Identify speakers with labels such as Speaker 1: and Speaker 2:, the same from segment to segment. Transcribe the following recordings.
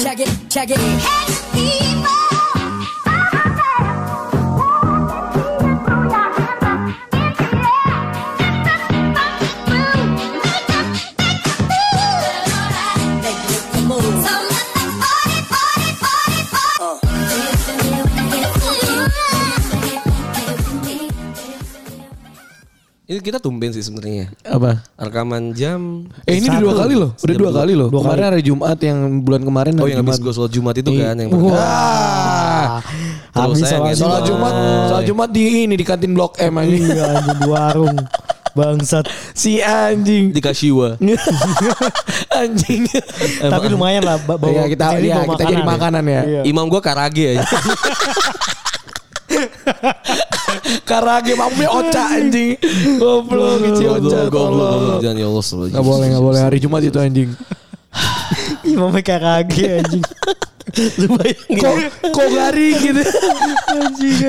Speaker 1: Check it. Make it the move.
Speaker 2: Itu kita tumben sih sebenarnya.
Speaker 3: Apa?
Speaker 2: Rekaman jam
Speaker 3: Eh ini udah
Speaker 4: Satu.
Speaker 3: dua kali loh, udah
Speaker 2: Jam
Speaker 3: dua
Speaker 2: dua.
Speaker 3: kali loh.
Speaker 4: Dua
Speaker 3: kemarin hari Jumat yang bulan kemarin
Speaker 2: Oh
Speaker 3: hari
Speaker 2: yang habis
Speaker 3: Jumat.
Speaker 2: gue sholat Jumat itu
Speaker 3: Iya.
Speaker 2: kan yang Terus
Speaker 3: Wah.
Speaker 4: Habis
Speaker 2: saya
Speaker 4: sholat
Speaker 2: nggak
Speaker 3: Salat
Speaker 2: Jumat.
Speaker 3: Ah. Jumat, salat gitu. Jumat di ini di kantin Blok M ini.
Speaker 4: Iya anjing di warung Bangsat
Speaker 3: si anjing.
Speaker 2: di Kashiwa.
Speaker 3: anjing.
Speaker 4: Tapi lumayan lah ba- bawa,
Speaker 3: Iya, kita-
Speaker 4: ini
Speaker 3: iya,
Speaker 4: bawa
Speaker 3: kita jadi makanan ya.
Speaker 4: Iya.
Speaker 2: Imam gue karage ya. aja.
Speaker 3: Karage mamanya oca anjing. Goblok kecil
Speaker 2: Goblok,
Speaker 3: oca.
Speaker 2: goblok, goblok.
Speaker 3: tolong.
Speaker 2: Jangan ya Allah. astagfirullah.
Speaker 3: Gak boleh, gak boleh hari Jumat itu anjing.
Speaker 4: Imam Karage Iya, anjing Lu bayangin
Speaker 3: Kok kok hari gitu.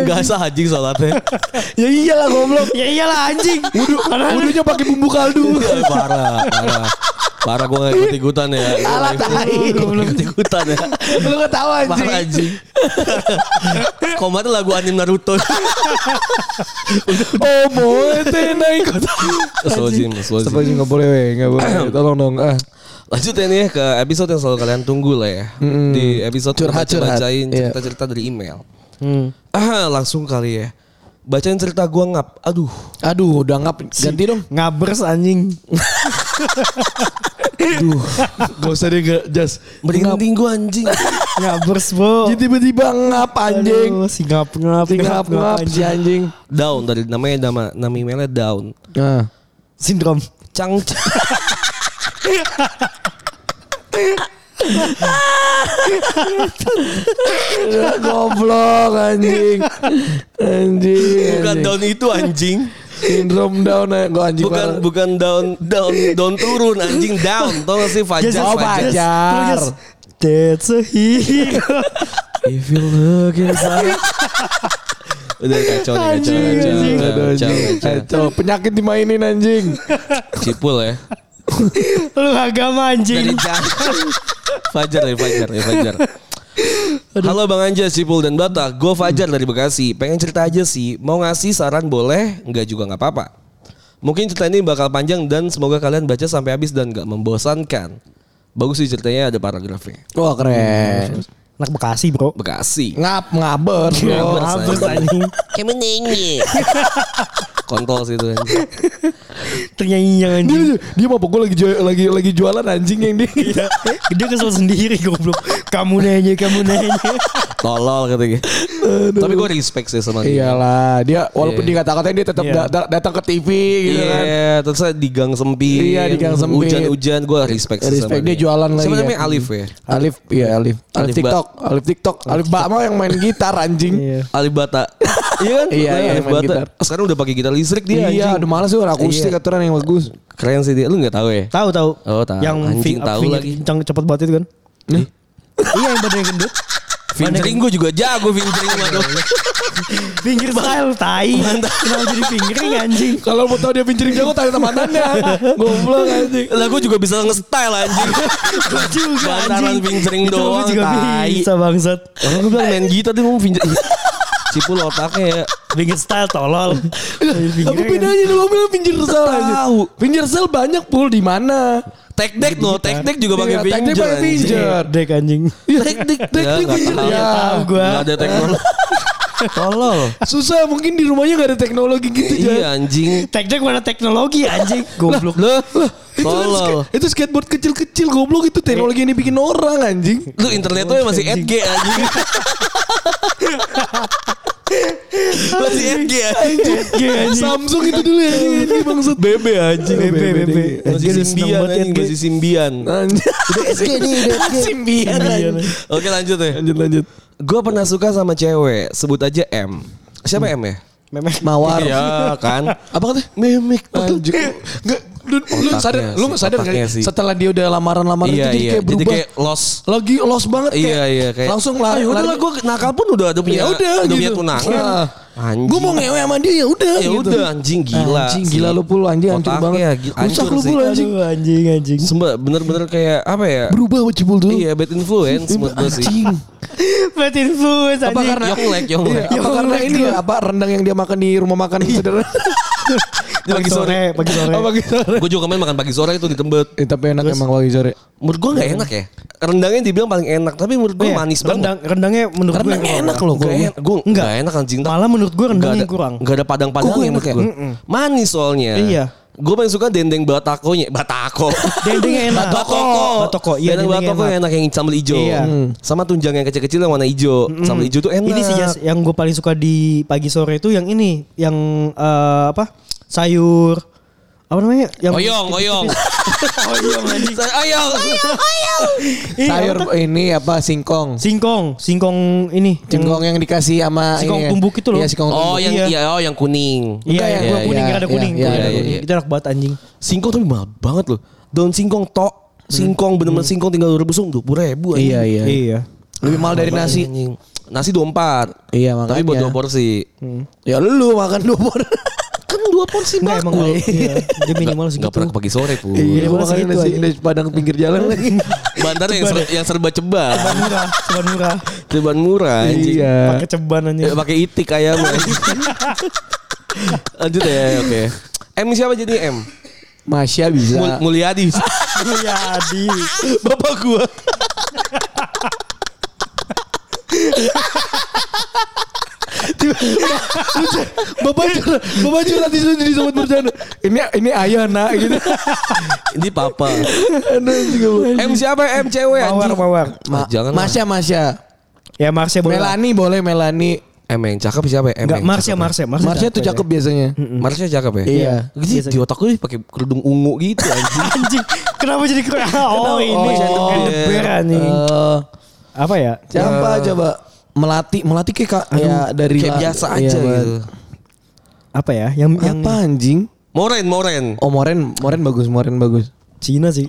Speaker 2: Gak sah anjing sholatnya.
Speaker 3: ya iyalah goblok.
Speaker 4: Ya iyalah anjing
Speaker 3: Wudu, wudunya pakai bumbu kaldu.
Speaker 2: Eh, parah, parah. Parah gue gak ikut ikutan ya.
Speaker 3: Alah, tai.
Speaker 2: Gue belum ikut ikutan ya.
Speaker 3: Lu gak tahu
Speaker 2: Parah
Speaker 3: anjing.
Speaker 2: anjing. Koma tuh lagu anime Naruto.
Speaker 3: Oh, boy, tenai
Speaker 2: Astagfirullahaladzim, astagfirullahaladzim.
Speaker 3: Sebenarnya nggak boleh, weh, nggak boleh. Tolong dong. Ah.
Speaker 2: Lanjut ya nih ke episode yang selalu kalian tunggu lah ya. Di episode
Speaker 3: Curhat,
Speaker 2: kita
Speaker 3: curhat.
Speaker 2: bacain
Speaker 3: Iya. Hmm.
Speaker 2: cerita-cerita dari email. Ah, langsung kali ya. Bacain cerita gua ngap. Aduh.
Speaker 3: Aduh, udah ngap. Ganti dong.
Speaker 4: Ngabers anjing
Speaker 3: Aduh, gak usah deh, gak jas. Ngap.
Speaker 2: Merinding gua anjing.
Speaker 4: Ngabers bo
Speaker 3: Jadi tiba-tiba ngap anjing.
Speaker 4: Aduh, Si ngap ngap
Speaker 3: Si ngap ngap si anjing.
Speaker 2: down dari namanya nama nama emailnya down.
Speaker 3: Nah.
Speaker 4: Sindrom
Speaker 2: Cang
Speaker 3: Goblok anjing. Anjing.
Speaker 2: bukan
Speaker 3: Iya, anjing.
Speaker 2: down itu anjing.
Speaker 3: Sindrom down eh. Gua anjing.
Speaker 2: Bukan
Speaker 3: parah.
Speaker 2: bukan down down down turun anjing down. Tau gak sih Fajar?
Speaker 3: Yes, oh, yes,
Speaker 2: Fajar.
Speaker 3: yes. Jar.
Speaker 4: That's a hero
Speaker 3: If you look inside.
Speaker 2: Udah kacau nih kacau
Speaker 3: Anjing,
Speaker 2: kacau
Speaker 3: anjing.
Speaker 2: kacau,
Speaker 3: Aduh,
Speaker 2: kacau
Speaker 3: anjing.
Speaker 2: kacau.
Speaker 3: Kacau. Penyakit dimainin anjing.
Speaker 2: Cipul ya.
Speaker 4: Lu
Speaker 2: Dari
Speaker 4: agama anjing
Speaker 2: Jang. Fajar dari Fajar dari Fajar. Halo Bang Anja, Sipul dan Batak. Gue Fajar dari Bekasi. Pengen cerita aja sih. Mau ngasih saran boleh, nggak juga nggak apa-apa. Mungkin cerita ini bakal panjang dan semoga kalian baca sampai habis dan nggak membosankan. Bagus sih ceritanya ada paragrafnya.
Speaker 3: Wah keren.
Speaker 4: Anak Bekasi bro
Speaker 2: Bekasi.
Speaker 3: Ngap ngaber. bro.
Speaker 2: Ngabers,
Speaker 4: Ngabers
Speaker 2: anjing.
Speaker 4: anjing
Speaker 1: Kamu nyanyi.
Speaker 2: Kontol sih itu.
Speaker 4: Ternyanyi anjing
Speaker 3: Dia, dia mabok gue lagi, jual- lagi lagi jualan anjing yang dia.
Speaker 4: Iya.
Speaker 2: Iya.
Speaker 4: Dia kesel sendiri goblok Kamu nanya Kamu nanya
Speaker 2: Tolol katanya. Tapi gue respect sih
Speaker 3: Iya.
Speaker 2: sama dia.
Speaker 3: Iyalah, dia walaupun di kata-katanya dia tetap
Speaker 4: Iya.
Speaker 3: da- da- datang ke TV gitu
Speaker 2: Iya,
Speaker 3: kan.
Speaker 2: terus saya di gang sempit.
Speaker 3: Iya, di gang sempit.
Speaker 2: Hujan-hujan gue respect, sih
Speaker 3: Respect, dia jualan lagi
Speaker 2: Siapa
Speaker 3: ya.
Speaker 2: namanya Alif ya?
Speaker 3: Alif, iya Alif. Alif,
Speaker 2: Alif
Speaker 3: TikTok, Alif TikTok, Alif Mbak mau yang main gitar anjing.
Speaker 4: Iya.
Speaker 2: Alif Bata. iya kan?
Speaker 3: Iya, iya,
Speaker 2: Alif
Speaker 3: main
Speaker 2: Bata.
Speaker 3: gitar.
Speaker 2: Sekarang udah pakai gitar listrik dia
Speaker 3: Dia iya,
Speaker 2: anjing.
Speaker 3: udah males sih orang akustik
Speaker 2: Iya.
Speaker 3: aturan yang bagus.
Speaker 2: Keren sih dia. Lu gak tahu ya?
Speaker 4: Tahu tahu.
Speaker 2: Oh, tahu.
Speaker 4: Yang
Speaker 2: Anjing
Speaker 4: fi-
Speaker 2: tahu
Speaker 4: finger
Speaker 2: lagi.
Speaker 4: kencang cepet banget itu kan. iya yang badannya gendut.
Speaker 2: Fingering gue juga jago fingering mah tuh.
Speaker 4: Finger style tai. Kenapa jadi fingering anjing?
Speaker 3: Kalau mau tahu dia pincering jago tanya temanannya. Goblok anjing.
Speaker 2: Lah gue juga bisa nge-style anjing.
Speaker 4: Gua juga
Speaker 2: Bantaran fingering
Speaker 4: Itu gua
Speaker 2: doang,
Speaker 4: juga
Speaker 2: tai.
Speaker 4: bisa bangsat.
Speaker 2: Orang gue bilang main gitar dia ngomong fingering. Cipul otaknya ya.
Speaker 4: Finger style tolol.
Speaker 3: Apa bedanya lu bilang pinggir sel anjing? Pinggir sel banyak pul di mana?
Speaker 2: Tek deck loh, tek deck juga pakai
Speaker 3: Iya, tek deck
Speaker 2: finger.
Speaker 3: pakai
Speaker 2: anjing.
Speaker 3: finger.
Speaker 4: Iya, Dek anjing. Iya,
Speaker 3: Teknik teknik
Speaker 2: nggak
Speaker 3: pinggir
Speaker 2: tahu.
Speaker 3: ya.
Speaker 4: Tahu gua.
Speaker 2: Nggak ada teknologi. Tolol.
Speaker 3: Iya. Susah mungkin di rumahnya gak ada teknologi gitu
Speaker 2: Iya
Speaker 3: Jan.
Speaker 2: anjing.
Speaker 4: Teknik mana teknologi anjing? Goblok.
Speaker 2: Lu
Speaker 3: Itu, kan
Speaker 2: Tolol.
Speaker 3: sk- itu skateboard kecil-kecil goblok itu teknologi yang dibikin orang anjing.
Speaker 2: lu internet tuh masih 8G anjing. masih 8G anjing.
Speaker 4: Iya, anjing.
Speaker 3: Samsung itu dulu ya ini bangsat.
Speaker 2: BB anjing.
Speaker 4: BB, BB.
Speaker 2: Masih
Speaker 4: Anjing,
Speaker 2: simbian
Speaker 4: seneng banget
Speaker 2: anjing,
Speaker 4: 8G.
Speaker 2: masih simbian.
Speaker 3: Udah SG nih, udah Iya, SG. Simbian anjing.
Speaker 2: Oke lanjut ya.
Speaker 3: Lanjut lanjut.
Speaker 2: Gue pernah suka sama cewek, sebut aja M. Siapa M ya?
Speaker 4: Memek.
Speaker 3: Mawar.
Speaker 2: Iya kan.
Speaker 3: Hmm. Apa katanya?
Speaker 2: Mimik
Speaker 3: Anjing. Enggak Eh, lu, lu
Speaker 2: Otaknya
Speaker 3: sadar lu
Speaker 2: sih,
Speaker 3: sadar
Speaker 2: otaknya
Speaker 3: kali
Speaker 2: sih.
Speaker 3: setelah dia udah lamaran-lamaran
Speaker 2: Iya
Speaker 3: itu jadi
Speaker 2: iya.
Speaker 3: kayak
Speaker 2: Jadi
Speaker 3: berubah.
Speaker 2: kayak lost.
Speaker 3: lagi lost banget kayak.
Speaker 2: Iya iya kayak.
Speaker 3: Langsung lah.
Speaker 2: Ah, Yaudah lah gue nakal pun udah ada punya.
Speaker 3: Ya udah
Speaker 2: Udah
Speaker 3: gitu.
Speaker 2: punya tunangan.
Speaker 3: Ah.
Speaker 2: Anjing.
Speaker 3: Gue mau ngewe sama dia ya udah.
Speaker 2: Ya
Speaker 3: gitu.
Speaker 2: udah anjing gila.
Speaker 3: Anjing gila lu pul anjing hancur
Speaker 2: Otaknya
Speaker 3: banget.
Speaker 2: gila,
Speaker 3: Rusak
Speaker 2: hancur
Speaker 3: lu
Speaker 2: sih.
Speaker 3: pul anjing.
Speaker 4: Aduh, anjing anjing.
Speaker 2: Sembah bener-bener kayak apa ya?
Speaker 3: Berubah wajib pul dulu.
Speaker 2: Iya bad influence menurut gue sih.
Speaker 3: Anjing.
Speaker 4: Bad influence
Speaker 2: Apa
Speaker 4: anjing.
Speaker 2: karena ya Yonglek Yonglek.
Speaker 3: Iya, apa
Speaker 4: Yonglek
Speaker 3: karena ini Iya. ya,
Speaker 4: gua.
Speaker 3: apa rendang yang dia makan di rumah makan sederhana?
Speaker 2: Pagi sore. Oh,
Speaker 4: pagi sore.
Speaker 3: Apa gitu?
Speaker 2: Gue juga kemarin makan pagi sore itu di Tembet.
Speaker 3: Eh, tapi enak emang pagi sore.
Speaker 2: Menurut gue gak enak ya. Rendangnya dibilang paling enak. Tapi menurut gue
Speaker 4: Iya,
Speaker 2: manis
Speaker 4: rendang,
Speaker 2: banget.
Speaker 4: rendangnya menurut gue
Speaker 2: Rendang
Speaker 4: kurang.
Speaker 2: enak loh. Gue
Speaker 4: Gak
Speaker 2: gue
Speaker 4: Enggak.
Speaker 2: gak enak anjing.
Speaker 4: ya. Malah menurut gue
Speaker 2: Gak
Speaker 4: rendangnya
Speaker 2: ada,
Speaker 4: kurang.
Speaker 2: Gak ada padang-padang
Speaker 3: Kok
Speaker 2: yang
Speaker 3: enak
Speaker 2: menurut
Speaker 3: ya?
Speaker 2: gue. Manis soalnya.
Speaker 4: Iya.
Speaker 2: Gue paling suka dendeng batakonya. Batako.
Speaker 4: Dendengnya enak.
Speaker 2: Batoko.
Speaker 4: Batoko. Iya,
Speaker 2: dendeng
Speaker 4: dendengnya
Speaker 2: batako yang enak yang sambal hijau.
Speaker 4: Iya.
Speaker 2: Hmm. Sama tunjang yang kecil-kecil yang warna hijau. Sambal hijau tuh enak.
Speaker 4: Ini sih Jas, yang gue paling suka di pagi sore itu yang ini, yang eh, apa? Sayur apa namanya? Yang
Speaker 2: Oyong, oyong.
Speaker 4: Oyong, anjing.
Speaker 2: Saya- Oyong.
Speaker 4: Iya,
Speaker 3: Sayur
Speaker 4: apa tuh?
Speaker 3: ini apa singkong.
Speaker 4: singkong, singkong ini. yang-
Speaker 3: Singkong yang dikasih sama
Speaker 4: Singkong
Speaker 3: ini ya.
Speaker 4: tumbuk itu loh.
Speaker 3: Iya, singkong
Speaker 2: Oh
Speaker 3: tumbuk.
Speaker 2: yang
Speaker 4: Iya.
Speaker 2: iya oh yang kuning.
Speaker 4: Iya,
Speaker 3: Enggak, iya,
Speaker 4: yang gua kuning,
Speaker 3: iya,
Speaker 4: yang ada
Speaker 3: iya,
Speaker 4: kuning.
Speaker 3: iya,
Speaker 4: Gua ada
Speaker 2: ya? iya,
Speaker 4: kuning.
Speaker 2: iya.
Speaker 4: Itu enak banget anjing.
Speaker 2: Singkong tapi mahal banget loh. Daun singkong tok. Singkong bener-bener singkong tinggal dua rebusung dua puluh ribu.
Speaker 3: Iya, iya. Lebih mahal dari nasi.
Speaker 2: Anjing. Nasi dua empat.
Speaker 3: Iya,
Speaker 2: Tapi buat
Speaker 3: makanya.
Speaker 2: dua porsi.
Speaker 3: Ya lu makan dua por.
Speaker 2: Kan dua porsi
Speaker 4: Enggak emang
Speaker 2: bakul.
Speaker 4: iya. Dia minimal
Speaker 2: Gak
Speaker 4: segitu.
Speaker 2: pernah ke pagi sore pun.
Speaker 4: Iya,
Speaker 3: Iya,
Speaker 4: gua
Speaker 3: makan
Speaker 4: segitu
Speaker 3: nasi
Speaker 4: aja.
Speaker 3: nasi padang pinggir jalan lagi.
Speaker 2: Bandar yang, serba, yang serba ceban.
Speaker 4: Ceban murah, ceban murah.
Speaker 2: Ceban murah anjing.
Speaker 4: Pakai ceban anjing.
Speaker 2: Ya, pakai itik ayam. Lanjut ya, oke. M siapa jadi M?
Speaker 3: Masya bisa.
Speaker 2: Mul- Mulyadi.
Speaker 4: Iya, di.
Speaker 2: Bapak gua.
Speaker 3: Bapak curhat, bapak curhat di sini di sobat bercanda. Ini ini ayah nak gitu.
Speaker 2: Ini papa.
Speaker 3: Aduh, juga.
Speaker 2: M siapa?
Speaker 3: ya?
Speaker 2: M cewek
Speaker 4: Mawar,
Speaker 2: anjing.
Speaker 4: mawar.
Speaker 3: Ma,
Speaker 2: Jangan lah.
Speaker 3: Masya Masya.
Speaker 4: Ya Marsha boleh. lah.
Speaker 3: Melani Ah, boleh Melani.
Speaker 2: M yang cakep siapa? ya? M
Speaker 4: Enggak,
Speaker 2: yang
Speaker 4: Marsha,
Speaker 2: cakep ya?
Speaker 4: Marsha, Marsha.
Speaker 3: Marsha tuh cakep Hmm. biasanya.
Speaker 2: Marsha cakep ya?
Speaker 3: Iya.
Speaker 2: Jadi di otak gue pakai kerudung ungu gitu anjing.
Speaker 4: Anjing, kenapa jadi kue? Oh, ini
Speaker 3: Oh,
Speaker 4: yang deber anjing.
Speaker 3: Eh,
Speaker 4: Apa ya?
Speaker 3: Siapa coba? Eh, Melati, melati kayak kak, ya dari
Speaker 2: Kayak
Speaker 3: la-
Speaker 2: biasa
Speaker 3: iya,
Speaker 2: aja
Speaker 3: Mbak.
Speaker 2: gitu.
Speaker 4: Apa ya? Yang yang
Speaker 3: Apa anjing?
Speaker 2: Moren, Moren.
Speaker 3: Oh Moren, Moren bagus, Moren bagus.
Speaker 4: Cina sih.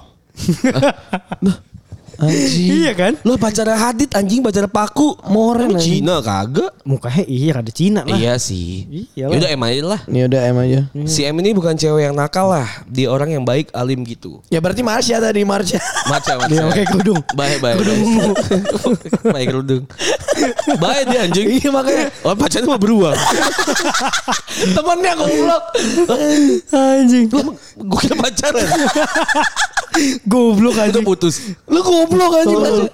Speaker 3: Anjing.
Speaker 4: Iya kan?
Speaker 2: Lo pacara Hadid anjing pacara Paku.
Speaker 3: Moren
Speaker 2: Lu
Speaker 3: anjing.
Speaker 2: Cina kagak?
Speaker 4: Mukanya iya ada Cina lah.
Speaker 2: Iya sih.
Speaker 4: Iyalah.
Speaker 2: Yaudah M aja lah.
Speaker 3: Ini udah M aja.
Speaker 2: Si M ini bukan cewek yang nakal lah. Dia orang yang baik, alim gitu.
Speaker 3: Ya berarti Marsha tadi Marsha.
Speaker 2: Maca, maca.
Speaker 4: Dia pakai kerudung.
Speaker 2: Baik, baik. Kerudung ungu. baik kerudung. Baik dia anjing.
Speaker 3: Iya, makanya.
Speaker 2: Oh pacarnya mah beruang.
Speaker 3: Temennya goblok.
Speaker 4: Anjing.
Speaker 2: gue kira pacaran.
Speaker 4: Goblok
Speaker 2: Udah
Speaker 4: anjing.
Speaker 2: putus.
Speaker 3: Lu goblok anjing
Speaker 4: Tuh.
Speaker 3: Marsha.